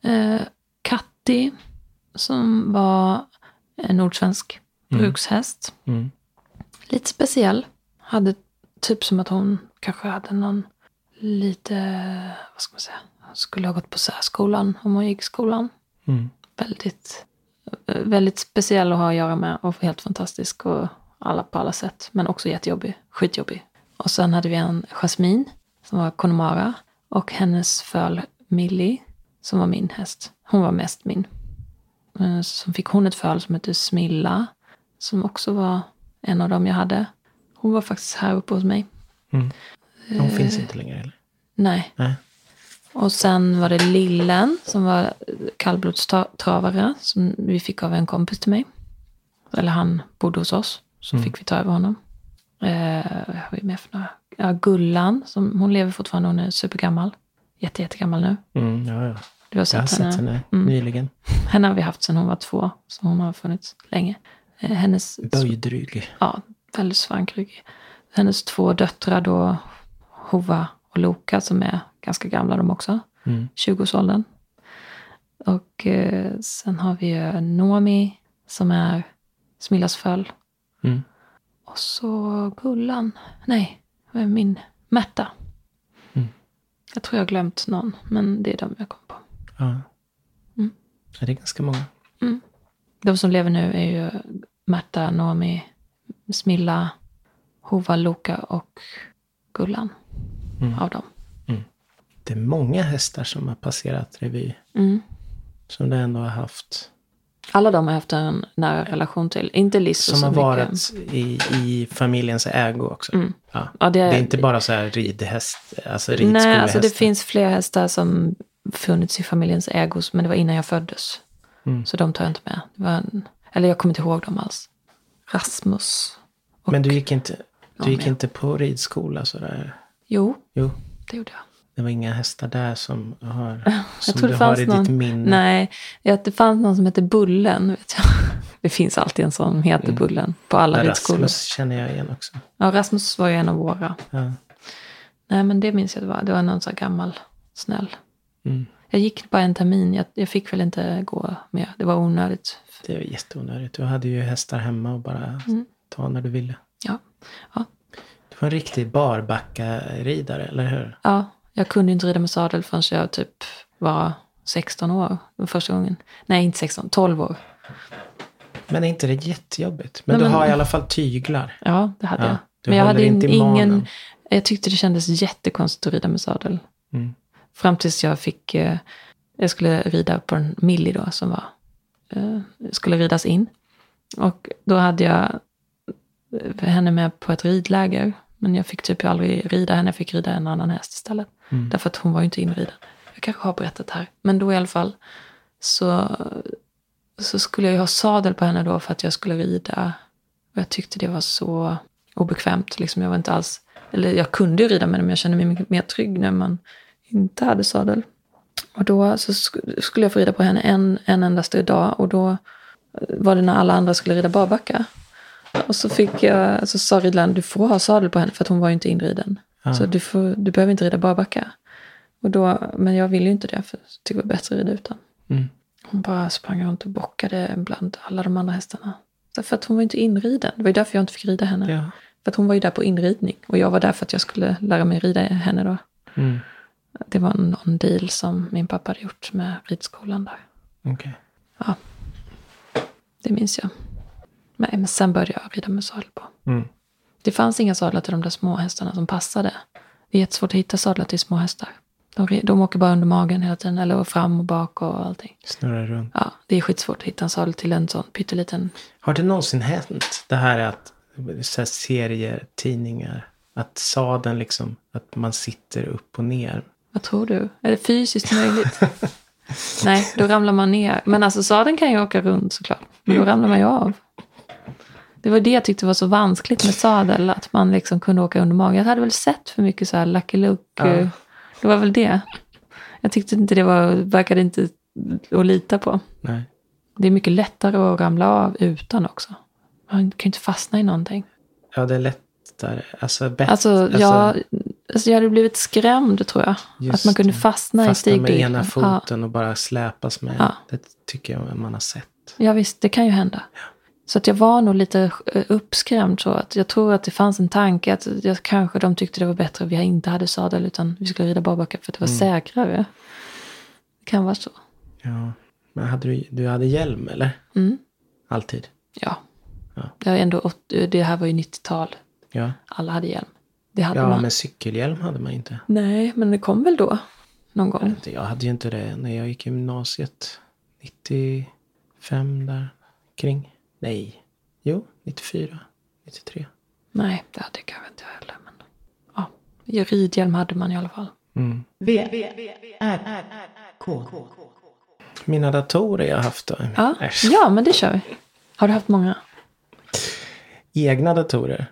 Speaker 3: Eh, Katti som var en nordsvensk
Speaker 2: Mm.
Speaker 3: brukshäst.
Speaker 2: Mm.
Speaker 3: Lite speciell. Hade typ som att hon kanske hade någon lite, vad ska man säga, hon skulle ha gått på särskolan om hon gick i skolan
Speaker 2: Mm.
Speaker 3: väldigt, eh, väldigt speciell att ha att göra med och helt fantastisk och alla på alla sätt. Men också jättejobbig, skitjobbig. Och sen hade vi en Jasmine som var Connemara och hennes föl Millie som var min häst. Hon var mest min. Eh, Så fick hon ett föl som hette Smilla som också var en av dem jag hade. Hon var faktiskt här uppe hos mig. Eh.
Speaker 2: De finns inte längre eller?
Speaker 3: Nej,
Speaker 2: Nej.
Speaker 3: Och sen var det Lillen som var eh, kallblodstravare som vi fick av en kompis till mig. Eller han bodde hos oss, så
Speaker 2: Mm.
Speaker 3: fick vi ta över honom. Eh, vad har vi med för några? Ja, Gullan, som, hon lever fortfarande, hon är supergammal. Jätte, jättegammal nu.
Speaker 2: Mm, ja, ja.
Speaker 3: Du har
Speaker 2: Jag har
Speaker 3: sett henne.
Speaker 2: sett henne
Speaker 3: Mm.
Speaker 2: nyligen.
Speaker 3: Henne har vi haft sedan hon var två, så hon har funnits länge. Eh, hennes
Speaker 2: Böjdrygg.
Speaker 3: ja, väldigt svankryggig. Hennes två döttrar då, Hova och Loka, som är ganska gamla de också.
Speaker 2: Mm.
Speaker 3: 20-årsåldern. Och eh, sen har vi ju Nomi som är Smillas föl.
Speaker 2: Mm.
Speaker 3: Och så Gullan. Nej, vad är min? Märta.
Speaker 2: Mm.
Speaker 3: Jag tror jag har glömt någon, men det är de jag kom på.
Speaker 2: Ja.
Speaker 3: Mm.
Speaker 2: ja, det är ganska många.
Speaker 3: De som lever nu är ju Märta, Nomi, Smilla, Hova, Loka och Gullan.
Speaker 2: Mm.
Speaker 3: Av dem.
Speaker 2: Det är många hästar som har passerat revy.
Speaker 3: Mm.
Speaker 2: Som du ändå har haft.
Speaker 3: Alla de har jag haft en nära relation till. Inte Lisso
Speaker 2: Som
Speaker 3: så
Speaker 2: har
Speaker 3: mycket.
Speaker 2: varit i, i familjens ägo också.
Speaker 3: Mm.
Speaker 2: Ja.
Speaker 3: Ja, det,
Speaker 2: Det
Speaker 3: är
Speaker 2: är inte bara så här ridhäst, alltså ridskolehästar.
Speaker 3: Nej, alltså det finns fler hästar som funnits i familjens ägo, men det var innan jag föddes.
Speaker 2: Mm.
Speaker 3: Så de tar jag inte med. Det var en, eller jag kommer inte ihåg dem alls. Rasmus. Och,
Speaker 2: Men du gick inte,
Speaker 3: Ja,
Speaker 2: du gick
Speaker 3: men-
Speaker 2: inte på ridskola sådär?
Speaker 3: Jo,
Speaker 2: Jo,
Speaker 3: det gjorde jag.
Speaker 2: det var inga hästar där som, har, som
Speaker 3: tror
Speaker 2: du
Speaker 3: det
Speaker 2: har
Speaker 3: fanns
Speaker 2: i ditt
Speaker 3: någon.
Speaker 2: minne?
Speaker 3: Nej, jag- det fanns någon som hette Bullen. Vet jag. Det finns alltid en som heter Bullen på alla ridskolor.
Speaker 2: Mm. Rasmus känner jag igen också.
Speaker 3: Ja, Rasmus var ju en av våra.
Speaker 2: Ja.
Speaker 3: Nej, men det minns jag att det var. Det var någon sån här gammal, snäll.
Speaker 2: Mm.
Speaker 3: Jag gick bara en termin. Jag, jag fick väl inte gå mer. Det var onödigt.
Speaker 2: Det är jätteonödigt. Du hade ju hästar hemma och bara ta när du ville.
Speaker 3: Mm. Ja. Ja,
Speaker 2: Du var en riktig barbacka-ridare, eller hur?
Speaker 3: Ja, jag kunde inte rida med sadel förrän jag typ var 16 år. Den första gången. Nej, inte 16, 12 år.
Speaker 2: Men är inte det jättejobbigt? Men
Speaker 3: Nej,
Speaker 2: du
Speaker 3: men-
Speaker 2: har i alla fall tyglar.
Speaker 3: Ja, det hade
Speaker 2: Ja,
Speaker 3: jag.
Speaker 2: du
Speaker 3: Men jag
Speaker 2: håller
Speaker 3: hade
Speaker 2: inte i manen.
Speaker 3: ingen... Jag tyckte det kändes jättekonstigt att rida med sadel.
Speaker 2: Mm.
Speaker 3: Fram tills jag fick... Eh, jag skulle rida på en Millie då som var... Eh, skulle ridas in. Och då hade jag eh, henne med på ett ridläger. Men jag fick typ aldrig rida henne. Jag fick rida en annan häst istället.
Speaker 2: Mm.
Speaker 3: Därför att hon var ju inte inriden. Jag kanske har berättat det här. Men då i alla fall så, så skulle jag ju ha sadel på henne då för att jag skulle rida. Och jag tyckte det var så obekvämt. Liksom jag var inte alls, eller jag kunde ju rida med den men jag kände mig mycket mer trygg när man inte hade sadel. Och då så sk- skulle jag få rida på henne en, en endaste dag och då eh, var det när alla andra skulle rida barbacka. Och så fick jag, så sa riddlaren, du får ha sadel på henne för att hon var ju inte inriden.
Speaker 2: Ja.
Speaker 3: Så du, får, du behöver inte rida barbacka. Och då, men jag ville ju inte det för jag tyckte det var bättre att rida utan.
Speaker 2: Mm.
Speaker 3: Hon bara sprang runt och bockade bland alla de andra hästarna. Därför att hon var inte inriden. Det var ju därför jag inte fick rida henne.
Speaker 2: Ja.
Speaker 3: För att hon var ju där på inridning och jag var där för att jag skulle lära mig rida henne då.
Speaker 2: Mm.
Speaker 3: Det var någon deal som min pappa hade gjort med ridskolan där.
Speaker 2: Okej.
Speaker 3: Det minns jag. Men, men sen började jag rida med sadel på.
Speaker 2: Mm.
Speaker 3: Det fanns inga sadlar till de där små hästarna som passade. Det är jättesvårt att hitta sadlar till små hästar. De, ri- de åker bara under magen hela tiden, eller fram och bak och allting.
Speaker 2: Snurrar runt.
Speaker 3: Ja, det är skitsvårt att hitta en sadel till en sån pytteliten.
Speaker 2: Har det någonsin hänt det här att så här serier, tidningar, att sadeln liksom, att man sitter upp och ner?
Speaker 3: Vad tror du? Är det fysiskt möjligt? Nej, då ramlar man ner. Men alltså sadeln kan ju åka runt såklart. Men då ramlar man ju av. Det var det jag tyckte var så vanskligt med sadel. Att man liksom kunde åka under magen. Jag hade väl sett för mycket så här Lucky Luke.
Speaker 2: Ja.
Speaker 3: eh, Det var väl det. Jag tyckte inte det var, verkade inte att lita på.
Speaker 2: Nej.
Speaker 3: Det är mycket lättare att ramla av utan också. Man kan ju inte fastna i någonting.
Speaker 2: Ja, det är lättare. Alltså, bättre.
Speaker 3: Alltså, jag, alltså jag hade blivit skrämd tror jag. Att
Speaker 2: Just
Speaker 3: man kunde
Speaker 2: det.
Speaker 3: fastna, i
Speaker 2: fastna med
Speaker 3: stigbilen.
Speaker 2: ena
Speaker 3: Ja.
Speaker 2: foten och bara släpas med.
Speaker 3: Ja.
Speaker 2: Det tycker jag man har sett.
Speaker 3: Ja visst, det kan ju hända. Så att jag var nog lite eh, uppskrämd så. Att jag tror att det fanns en tanke att jag, kanske de tyckte det var bättre att vi inte hade sadel utan vi skulle rida barbacka för att
Speaker 2: Mm.
Speaker 3: det var säkrare. Det kan vara så.
Speaker 2: Ja. Men hade du, du hade hjälm eller?
Speaker 3: Mm.
Speaker 2: Alltid?
Speaker 3: Ja.
Speaker 2: Ja.
Speaker 3: Det, var ändå åt, eh, det här var ju 90-tal.
Speaker 2: Ja.
Speaker 3: Alla hade hjälm. Det hade
Speaker 2: Ja,
Speaker 3: man.
Speaker 2: men cykelhjälm hade man inte.
Speaker 3: Nej, men det kom väl då. Någon gång.
Speaker 2: Inte- Jag hade ju inte det när jag gick i gymnasiet. 95 där kring. Nej. Jo, 94. 93.
Speaker 3: Nej, det hade jag kanske inte jag heller. Men... Ja. Ridhjälm hade man i alla fall.
Speaker 2: Mm.
Speaker 1: V, R, R, K.
Speaker 2: Mina datorer jag haft då.
Speaker 3: Ja.
Speaker 2: Äsch.
Speaker 3: ja, men det kör vi. Har du haft många?
Speaker 2: Egna datorer.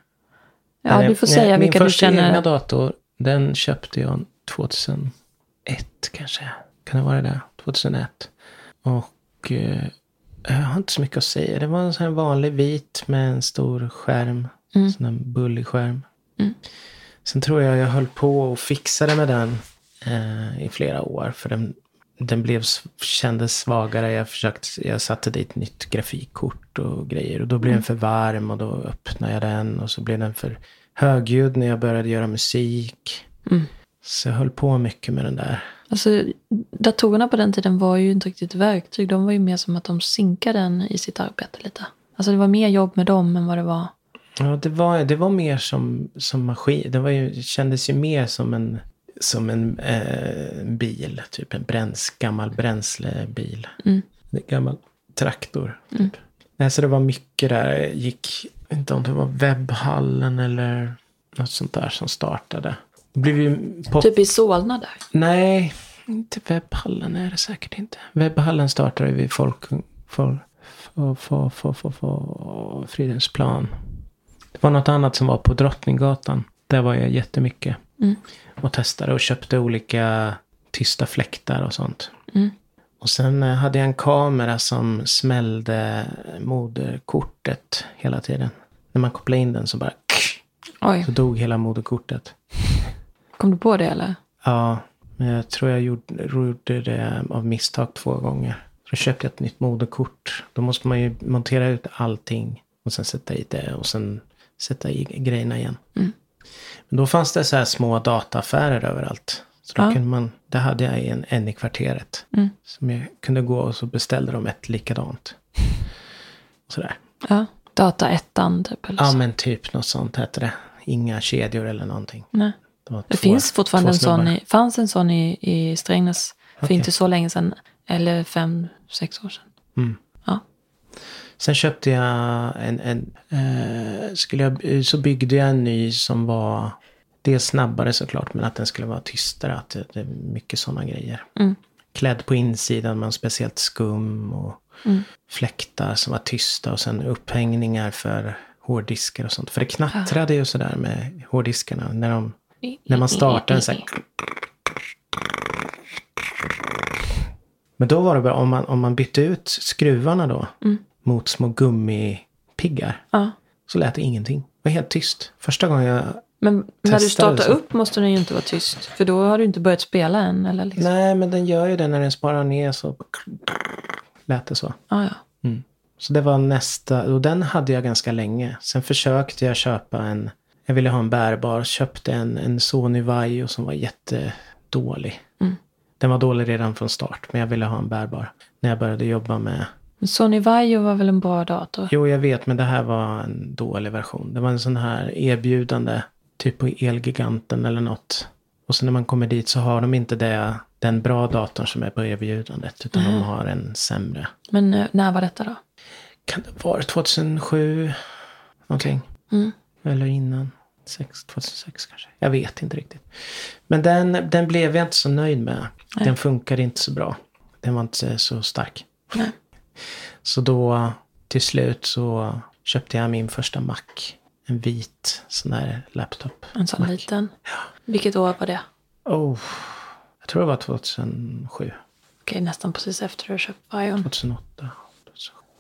Speaker 3: Ja,
Speaker 2: Nej,
Speaker 3: du får
Speaker 2: nej,
Speaker 3: säga
Speaker 2: min
Speaker 3: vilka du
Speaker 2: första
Speaker 3: känner.
Speaker 2: egna dator, den köpte jag 2001 kanske. Kan det vara det? 2001. Och eh, jag har inte så mycket att säga. Det var en sån här vanlig vit med en stor skärm.
Speaker 3: Mm.
Speaker 2: Sån här bullig skärm.
Speaker 3: Mm.
Speaker 2: Sen tror jag jag höll på och fixade med den eh, i flera år. För den, den blev, s- kändes svagare. Jag, försökte, jag satte dit nytt grafikkort och grejer. Och då blev den för varm och då öppnade jag den. Och så blev den för högljudd när jag började göra musik.
Speaker 3: Mm.
Speaker 2: Så jag höll på mycket med den där.
Speaker 3: Alltså, datorerna på den tiden var ju inte riktigt verktyg. De var ju mer som att de synkade den i sitt arbete lite. Alltså det var mer jobb med dem än vad det var.
Speaker 2: Ja, det var, det var mer som, som maskin. Det var ju, det kändes ju mer som en, som en eh, bil. Typ en bräns, gammal bränslebil.
Speaker 3: Mm.
Speaker 2: En gammal traktor. Typ.
Speaker 3: Mm.
Speaker 2: Nej, så det var mycket där. Jag gick, jag vet inte om det var webbhallen eller något sånt där som startade. Det blev ju pop-
Speaker 3: Typ i Solna där.
Speaker 2: Nej, inte webbhallen är det säkert inte. Webbhallen startar ju vid folk, folk, få, få, få, få, få, Fridens plan. Det var något annat som var på Drottninggatan. Där var jag jättemycket.
Speaker 3: Mm.
Speaker 2: Och testade och köpte olika tysta fläktar och sånt.
Speaker 3: Mm.
Speaker 2: Och sen eh, hade jag en kamera som smällde moderkortet hela tiden. När man kopplade in den så bara...
Speaker 3: Oj,
Speaker 2: Så dog hela moderkortet.
Speaker 3: kom du på det eller?
Speaker 2: Ja, men jag tror jag gjorde, gjorde det av misstag två gånger. Då köpte jag ett nytt moderkort. Då måste man ju montera ut allting och sen sätta i det och sen sätta i grejerna igen.
Speaker 3: Mm.
Speaker 2: Men då fanns det så här små dataaffärer överallt. Så då
Speaker 3: Ja.
Speaker 2: kunde man, det hade jag en, en i kvarteret.
Speaker 3: Mm.
Speaker 2: Som jag kunde gå och så beställde de ett likadant. Och Sådär.
Speaker 3: Ja, dataettan typ. Eller
Speaker 2: Ja
Speaker 3: så.
Speaker 2: men typ något sånt hette det. Inga kedjor eller någonting.
Speaker 3: Nej.
Speaker 2: Det, var
Speaker 3: Det
Speaker 2: två-
Speaker 3: finns fortfarande
Speaker 2: två
Speaker 3: en sån
Speaker 2: snubbar.
Speaker 3: i, fanns en sån i, i Strängnäs för
Speaker 2: Okej.
Speaker 3: inte så länge sedan. Eller fem, sex år sedan.
Speaker 2: Mm.
Speaker 3: Ja.
Speaker 2: Sen köpte jag en, en eh, skulle jag, så byggde jag en ny som var dels snabbare såklart men att den skulle vara tystare. Att det, det är mycket sådana grejer.
Speaker 3: Mm.
Speaker 2: Klädd på insidan med speciellt skum och
Speaker 3: Mm.
Speaker 2: fläktar som var tysta och sen upphängningar för hårddiskar och sånt. För det knattrade ju sådär med hårddiskarna när de när man startar en sån här Men då var det bra om man, om man bytte ut skruvarna då
Speaker 3: Mm.
Speaker 2: mot små gummipiggar.
Speaker 3: Ja.
Speaker 2: Så lät det ingenting. Det var helt tyst. Första gången jag...
Speaker 3: Men när du
Speaker 2: Testa
Speaker 3: startar
Speaker 2: liksom.
Speaker 3: upp måste den ju inte vara tyst. För då har du inte börjat spela än. Eller liksom.
Speaker 2: Nej, men den gör ju det när den sparar ner så lät det så.
Speaker 3: Ah, ja.
Speaker 2: Så det var nästa, och den hade jag ganska länge. Sen försökte jag köpa en, jag ville ha en bärbar, köpte en, en Sony Vaio som var jättedålig.
Speaker 3: Mm.
Speaker 2: Den var dålig redan från start, men jag ville ha en bärbar. När jag började jobba med,
Speaker 3: Men Sony Vaio var väl en bra dator?
Speaker 2: jo jag vet, men det här var en dålig version. Det var en sån här erbjudande, typ på Elgiganten eller något. Och sen när man kommer dit så har de inte det, den bra datorn som är på erbjudandet, utan de har en sämre.
Speaker 3: Men eh, när var detta då?
Speaker 2: Kan det vara 2007? Någonting.
Speaker 3: Mm.
Speaker 2: Eller innan. Sex- 2006 kanske. Jag vet inte riktigt. Men den, den blev jag inte så nöjd med. Den funkade inte så bra. Den var inte så stark.
Speaker 3: Nej.
Speaker 2: Så då till slut så köpte jag min första Mac. En vit sån där laptop.
Speaker 3: En sån liten? Vilket år var det?
Speaker 2: Oh, jag tror det var 2007,
Speaker 3: Okej, nästan precis efter du har köpt Vion.
Speaker 2: 2008. 2007.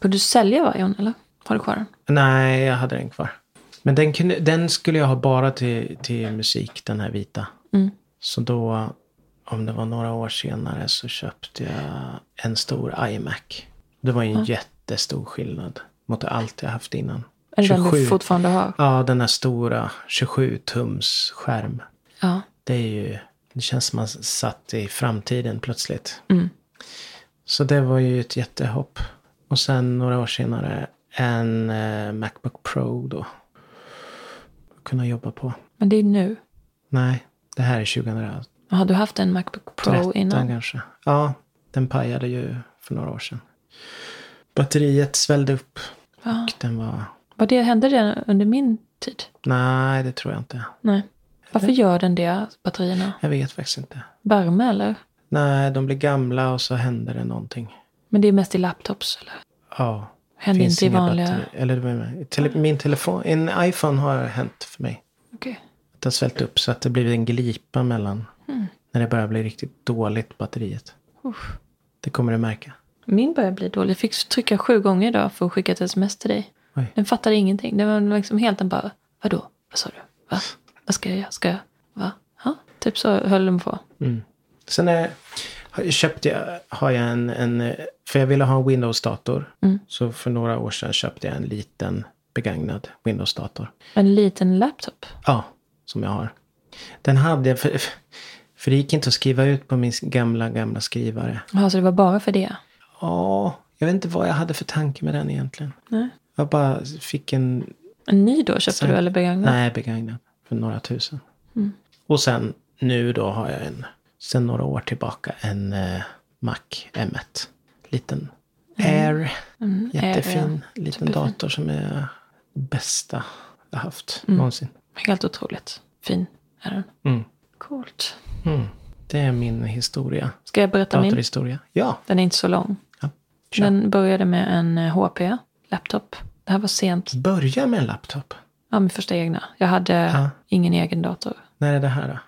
Speaker 3: Får du sälja Vion eller? Har du kvar den?
Speaker 2: Nej, jag hade den kvar. Men den, kunde, den skulle jag ha bara till, till musik, den här vita.
Speaker 3: Mm.
Speaker 2: Så då, om det var några år senare, så köpte jag en stor iMac. Det var ju en jättestor skillnad mot allt jag haft innan.
Speaker 3: Är det den du fortfarande har?
Speaker 2: Ja, den här stora 27-tums skärm.
Speaker 3: Ja.
Speaker 2: Det är ju, det känns som man satt i framtiden plötsligt.
Speaker 3: Mm.
Speaker 2: Så det var ju ett jättehopp. Och sen några år senare en eh, Macbook Pro då. Kunna jobba på.
Speaker 3: Men det är nu.
Speaker 2: Nej, det här är 2013
Speaker 3: Har du haft en Macbook Pro innan?
Speaker 2: kanske. Ja, den pajade ju för några år sedan. Batteriet svällde upp.
Speaker 3: Ja.
Speaker 2: Och den var...
Speaker 3: Var det, hände det under min tid?
Speaker 2: Nej, det tror jag inte.
Speaker 3: Nej. Varför gör den det, batterierna?
Speaker 2: Jag vet faktiskt inte.
Speaker 3: Värme eller?
Speaker 2: Nej, de blir gamla och så händer det någonting.
Speaker 3: Men det är mest i laptops eller?
Speaker 2: Ja.
Speaker 3: Händer
Speaker 2: finns
Speaker 3: inte i
Speaker 2: inga
Speaker 3: vanliga...
Speaker 2: batteri- Eller vad menar jag? tele, min telefon, en iPhone har hänt för mig.
Speaker 3: Okej.
Speaker 2: Det har svällt upp så att det blir en glipa mellan. När det börjar bli riktigt dåligt batteriet.
Speaker 3: Hmm. Uff.
Speaker 2: Det kommer du märka.
Speaker 3: Min börjar bli dålig. Jag fick trycka sju gånger idag för att skicka ett sms till dig.
Speaker 2: Oj.
Speaker 3: Den fattade ingenting. Den var liksom helt den bara, vadå? Vad sa du? Va? Vad ska jag göra? Ska jag? Va? Ja, typ så höll den på.
Speaker 2: Sen är, har- köpte jag, har jag en, en, för jag ville ha en Windows-dator.
Speaker 3: Mm.
Speaker 2: Så för några år sedan köpte jag en liten begagnad Windows-dator.
Speaker 3: En liten laptop.
Speaker 2: Ja, som jag har. Den hade jag, för, för det gick inte att skriva ut på min gamla, gamla skrivare.
Speaker 3: Ja, så det var bara för det?
Speaker 2: Ja, jag vet inte vad jag hade för tanke med den egentligen.
Speaker 3: Nej.
Speaker 2: Jag bara fick en
Speaker 3: En ny då köpte du eller begagnad?
Speaker 2: Nej, begagnad. För några tusen.
Speaker 3: Mm.
Speaker 2: Och sen nu då har jag en, sen några år tillbaka, en eh, Mac M1. Liten Air.
Speaker 3: Mm,
Speaker 2: Jättefin
Speaker 3: är-
Speaker 2: liten dator som är bästa jag haft
Speaker 3: Mm.
Speaker 2: någonsin.
Speaker 3: Helt otroligt fin är den.
Speaker 2: Mm.
Speaker 3: Coolt.
Speaker 2: Mm. Det är min historia.
Speaker 3: Ska jag berätta min?
Speaker 2: Datorhistoria. Ja.
Speaker 3: Den är inte så lång.
Speaker 2: ja. Kör.
Speaker 3: Den började med en eh, HP, laptop. Det här var sent.
Speaker 2: Börja med en laptop.
Speaker 3: Ja, min första egna. Jag hade
Speaker 2: Ja.
Speaker 3: ingen egen dator.
Speaker 2: När är det här då?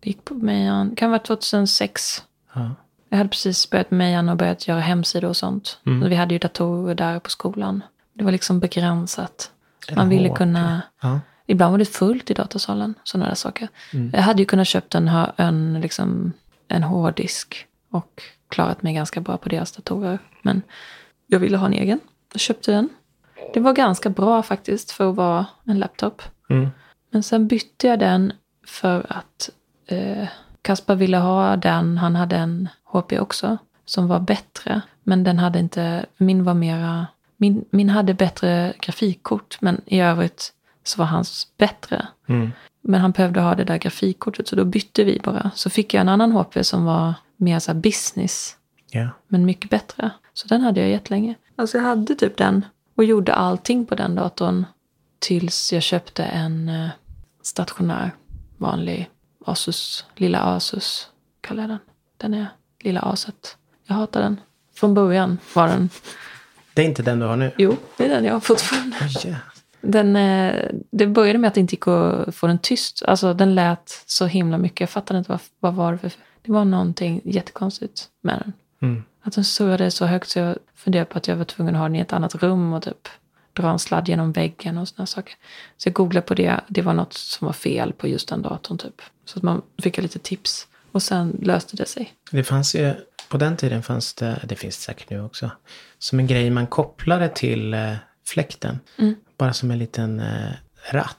Speaker 3: Det gick på Mejan. Det kan vara 2006.
Speaker 2: Ja.
Speaker 3: Jag hade precis börjat med Mejan och börjat göra hemsidor och sånt. Och vi hade ju datorer där på skolan. Det var liksom begränsat.
Speaker 2: En
Speaker 3: Man ville
Speaker 2: HP.
Speaker 3: kunna...
Speaker 2: ja.
Speaker 3: Ibland var det fullt i datorsalen. Sådana där saker. Jag hade ju kunnat köpt en, hö- en, liksom, en hårddisk och klarat mig ganska bra på deras datorer. Men jag ville ha en egen. Jag köpte den. Det var ganska bra faktiskt för att vara en laptop.
Speaker 2: Mm.
Speaker 3: Men sen bytte jag den för att eh, Kaspar ville ha den. Han hade en HP också som var bättre. Men den hade inte, min var mera, min, min hade bättre grafikkort. Men i övrigt så var hans bättre.
Speaker 2: Mm.
Speaker 3: Men han behövde ha det där grafikkortet så då bytte vi bara. Så fick jag en annan HP som var mer så här business
Speaker 2: Ja.
Speaker 3: men mycket bättre. Så den hade jag jättelänge. Alltså jag hade typ den och gjorde allting på den datorn tills jag köpte en eh, stationär vanlig Asus, lilla Asus kallar jag den. Den är lilla Aset. Jag hatar den. Från början var den.
Speaker 2: Det är inte den du har nu?
Speaker 3: Jo, det är den jag har fortfarande.
Speaker 2: Oh, yeah.
Speaker 3: Den, eh, det började med att det inte gick att få den tyst. Alltså den lät så himla mycket. Jag fattade inte vad, vad var det för... Det var någonting jättekonstigt med den.
Speaker 2: Mm.
Speaker 3: Att den surrade så högt så jag funderade på att jag var tvungen att ha den i ett annat rum och typ dra en sladd genom väggen och sådana saker. Så jag googlade på det. Det var något som var fel på just den datorn typ. Så att man fick lite tips. Och sen löste det sig.
Speaker 2: Det fanns ju, på den tiden fanns det, det finns det säkert nu också, som en grej man kopplade till eh, fläkten.
Speaker 3: Mm.
Speaker 2: Bara som en liten eh, ratt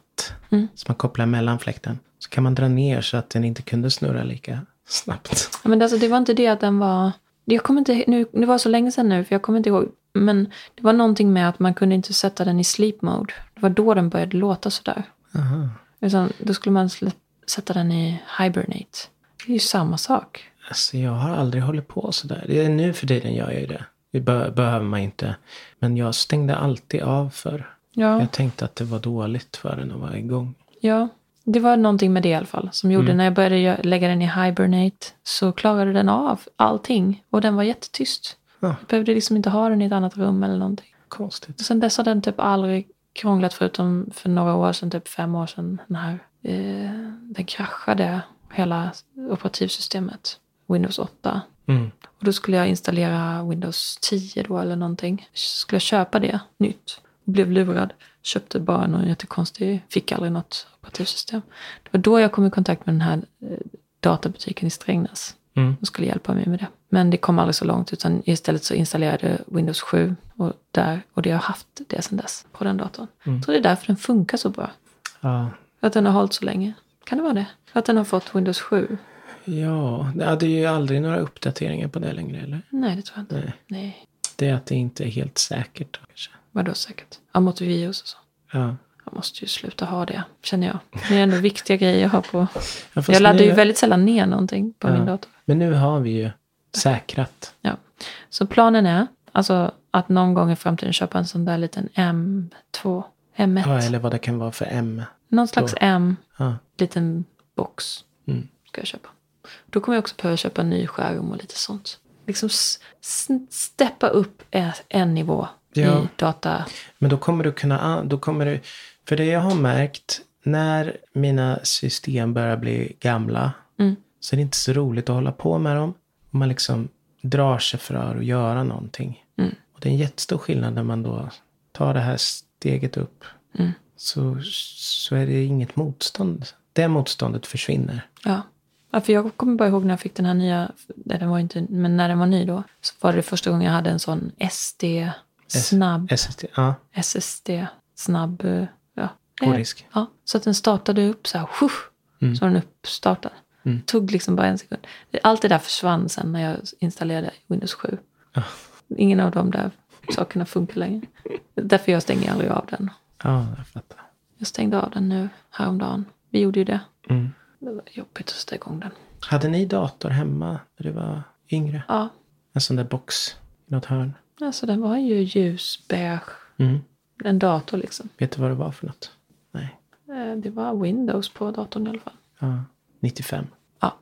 Speaker 3: Mm.
Speaker 2: som man kopplar mellan fläkten. Så kan man dra ner så att den inte kunde snurra lika snabbt.
Speaker 3: Ja, Men alltså, det var inte det att den var... Jag kommer inte, nu, det var så länge sedan nu, för jag kommer inte ihåg. Men det var någonting med att man kunde inte sätta den i sleep mode. Det var då den började låta sådär.
Speaker 2: Aha.
Speaker 3: Utan då skulle man slä- sätta den i hibernate. Det är ju samma sak.
Speaker 2: Alltså jag har aldrig hållit på sådär. Det är nu för tiden gör jag ju det. Det be- behöver man inte. Men jag stängde alltid av för.
Speaker 3: Ja,
Speaker 2: Jag tänkte att det var dåligt för den att vara igång.
Speaker 3: ja. Det var någonting med det i alla fall som gjorde när jag började gö- lägga den i hibernate så klarade den av allting och den var jättetyst.
Speaker 2: Ja.
Speaker 3: Jag behövde liksom inte ha den i ett annat rum eller någonting.
Speaker 2: Konstigt.
Speaker 3: Och Sen dess har den typ aldrig krånglat förutom för några år sedan, typ fem år sedan, när eh, den kraschade hela operativsystemet, Windows 8.
Speaker 2: Mm.
Speaker 3: Och då skulle jag installera Windows 10 då eller någonting. Skulle jag köpa det nytt? Blev lurad. Köpte bara någon jättekonstig, fick aldrig något operativsystem. Det var då jag kom i kontakt med den här eh, databutiken i Strängnäs.
Speaker 2: Mm.
Speaker 3: De skulle hjälpa mig med det. Men det kom aldrig så långt utan istället så installerade jag Windows 7 och, där, och det har jag haft det sedan dess på den datorn.
Speaker 2: Mm.
Speaker 3: Jag tror det är därför den funkar så bra.
Speaker 2: Ja.
Speaker 3: För att den har hållit så länge. Kan det vara det? För att den har fått Windows 7?
Speaker 2: Ja, det hade ju aldrig några uppdateringar på det längre eller?
Speaker 3: Nej, det tror jag inte.
Speaker 2: Nej.
Speaker 3: Nej.
Speaker 2: Det är att det inte är helt säkert då, kanske.
Speaker 3: Vadå säkert? Ja, mot virus och så.
Speaker 2: Ja.
Speaker 3: Jag måste ju sluta ha det, känner jag. Det är ändå viktiga grejer jag har på.
Speaker 2: Ja, fast
Speaker 3: Jag laddar
Speaker 2: nu,
Speaker 3: ju väldigt sällan ner någonting på
Speaker 2: Ja.
Speaker 3: min dator.
Speaker 2: Men nu har vi ju säkrat.
Speaker 3: Ja. Så planen är alltså att någon gång i framtiden köpa en sån där liten M2, M1.
Speaker 2: Ja, eller vad det kan vara för M.
Speaker 3: Någon slags M,
Speaker 2: Ja.
Speaker 3: liten box
Speaker 2: Mm.
Speaker 3: ska jag köpa. Då kommer jag också behöva köpa en ny skärm och lite sånt. Liksom s- s- steppa upp en- en nivå
Speaker 2: Ja.
Speaker 3: i data.
Speaker 2: Men då kommer du kunna, an- då kommer du, för det jag har märkt när mina system börjar bli gamla
Speaker 3: Mm.
Speaker 2: så är det inte så roligt att hålla på med dem. Och man liksom drar sig för att göra någonting.
Speaker 3: Mm.
Speaker 2: Och det är en jättestor skillnad när man då tar det här steget upp.
Speaker 3: Mm.
Speaker 2: Så, så är det inget motstånd. Det motståndet försvinner.
Speaker 3: Ja. ja, för jag kommer bara ihåg när jag fick den här nya, nej, den var ju inte, men när den var ny då, så var det första gången jag hade en sån SD,
Speaker 2: S-
Speaker 3: snabb,
Speaker 2: SSD, ja,
Speaker 3: SSD, snabb, eh, ja.
Speaker 2: god risk.
Speaker 3: Ja, så att den startade upp så här, shush,
Speaker 2: Mm.
Speaker 3: så var den uppstartad.
Speaker 2: Mm.
Speaker 3: Tog liksom bara en sekund. Allt det där försvann sen när jag installerade Windows 7.
Speaker 2: Ja.
Speaker 3: Ingen av de där sakerna funkar längre. Därför jag stänger aldrig av den.
Speaker 2: Ja, jag fattar.
Speaker 3: Jag stängde av den nu häromdagen. Vi gjorde ju det.
Speaker 2: Mm.
Speaker 3: Det var jobbigt att sätta igång den.
Speaker 2: Hade ni dator hemma när du var yngre?
Speaker 3: Ja,
Speaker 2: En sån där box i något hörn?
Speaker 3: alltså den var ju ljusbeige.
Speaker 2: Mm.
Speaker 3: En dator liksom.
Speaker 2: Vet du vad det var för något? Nej.
Speaker 3: Eh, Det var Windows på datorn i alla fall.
Speaker 2: Ja. 95.
Speaker 3: Ja.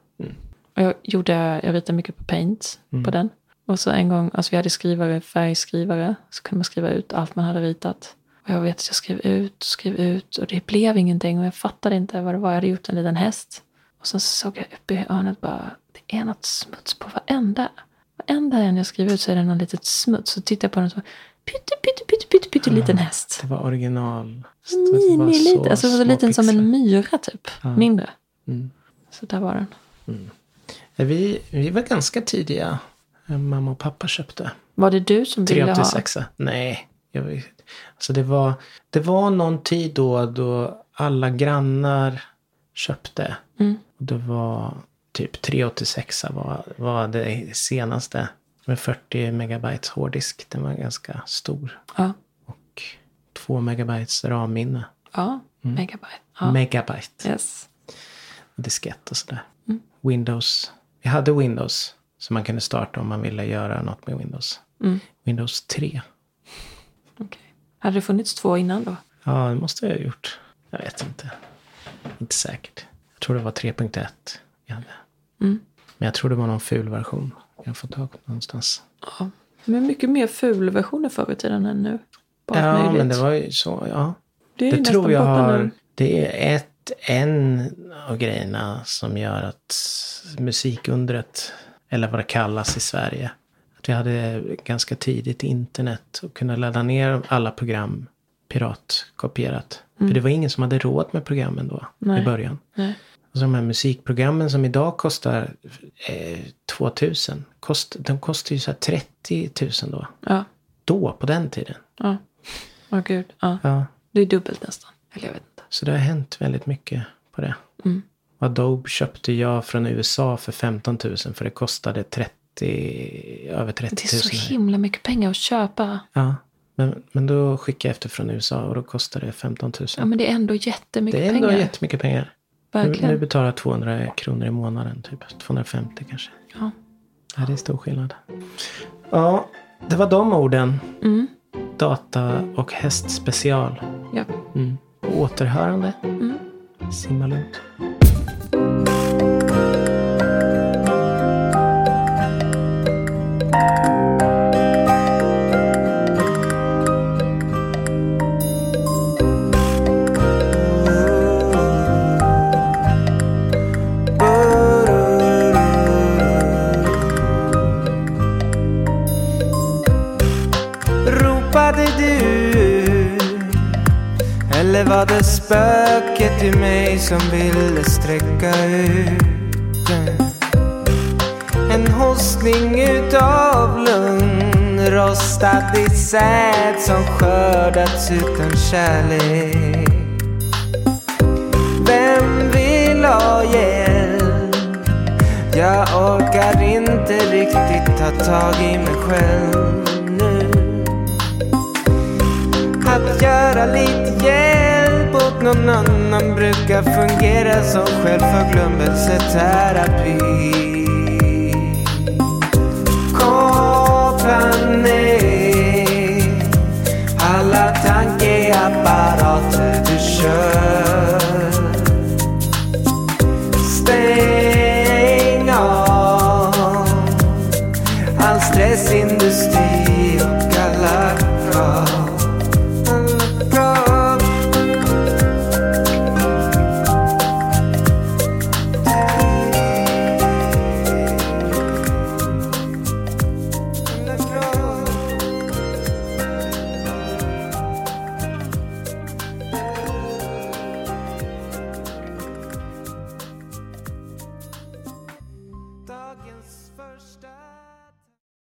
Speaker 3: Och jag, gjorde, jag ritade mycket på Paint på den. Och så en gång, alltså vi hade skrivare, färgskrivare, så kunde man skriva ut allt man hade ritat. Och jag vet att jag skrev ut, skrev ut och det blev ingenting och jag fattade inte vad det var. Jag hade gjort en liten häst. Och sen så såg jag uppe i hörnet bara, det är något smuts på varenda. Varenda en jag skriver ut så är det någon litet smuts. Så tittar jag på den och så, pytte, pytte, pytte, pytte, pytte liten häst.
Speaker 2: Det var original. Det var
Speaker 3: Mini liten, alltså så
Speaker 2: små
Speaker 3: liten som
Speaker 2: pixlar.
Speaker 3: en myra typ.
Speaker 2: Ja.
Speaker 3: Mindre.
Speaker 2: Mm.
Speaker 3: Så där var den.
Speaker 2: Vi, vi var ganska tidiga. Eh, Mamma och pappa köpte.
Speaker 3: Var det du som ville
Speaker 2: 3 till
Speaker 3: ha?
Speaker 2: 6 Nej. Jag vet. Alltså det, var, det var någon tid då, då alla grannar köpte.
Speaker 3: Mm.
Speaker 2: Och det var typ 386 var, var det senaste. Med 40 megabytes hårddisk. Den var ganska stor.
Speaker 3: Ja.
Speaker 2: Och 2 megabytes RAM-minne.
Speaker 3: Ja,
Speaker 2: Mm.
Speaker 3: megabyte. Ja. Mm.
Speaker 2: Megabyte.
Speaker 3: yes.
Speaker 2: diskett och sådär. Windows. Vi hade Windows som man kunde starta om man ville göra något med Windows.
Speaker 3: Mm.
Speaker 2: Windows 3.
Speaker 3: okej. Hade det funnits två innan då?
Speaker 2: Ja, det måste jag ha gjort. Jag vet inte. Inte säkert. Jag tror det var 3.1 vi hade.
Speaker 3: Mm.
Speaker 2: Men jag tror det var någon ful version. Jag har fått tag på någonstans.
Speaker 3: Ja. Men mycket mer fulversioner förr i tiden än nu. På allt
Speaker 2: ja,
Speaker 3: möjligt.
Speaker 2: men det var ju så. Ja.
Speaker 3: Det är ju
Speaker 2: Det
Speaker 3: nästan
Speaker 2: tror jag
Speaker 3: borta
Speaker 2: har...
Speaker 3: nu.
Speaker 2: Det är ett, en av grejerna som gör att musikundret, eller vad det kallas i Sverige, Att vi hade ganska tidigt internet och kunde ladda ner alla program piratkopierat. För det var ingen som hade råd med programmen då
Speaker 3: Mm. Nej.
Speaker 2: i början.
Speaker 3: Nej.
Speaker 2: Alltså de här musikprogrammen som idag kostar eh, 2000. Kost, de kostar ju så här 30 000 då.
Speaker 3: Ja,
Speaker 2: Då, på den tiden.
Speaker 3: ja. Åh gud. Ja.
Speaker 2: Ja.
Speaker 3: Det är dubbelt nästan. Eller jag vet inte.
Speaker 2: Så det har hänt väldigt mycket på det.
Speaker 3: Mm.
Speaker 2: Adobe köpte jag från USA för 15 000 för det kostade 30, över 30 000.
Speaker 3: Det är så
Speaker 2: här.
Speaker 3: himla mycket pengar att köpa.
Speaker 2: Ja, men, men då skickade jag efter från USA och då kostade det 15 000.
Speaker 3: Ja, men det är ändå jättemycket
Speaker 2: det är ändå
Speaker 3: pengar.
Speaker 2: jättemycket pengar. Nu,
Speaker 3: Verkligen.
Speaker 2: nu betalar jag 200 kronor i månaden, typ 250 kanske.
Speaker 3: Ja.
Speaker 2: Ja, det är stor skillnad. Ja, det var de orden.
Speaker 3: Mm.
Speaker 2: Data och hästspecial.
Speaker 3: Ja. Mm.
Speaker 2: Mm. På återhörande. Simma lugnt.
Speaker 4: Ropade du? Eller var det spöket i mig som ville sträcka ut en- en hostning utav lugn rostad i säd som skördats utan kärlek Vem vill ha hjälp? Jag orkar inte riktigt ta tag i mig själv nu Att göra lite hjälp åt någon annan brukar fungera som självförglömmelseterapi Koppla ner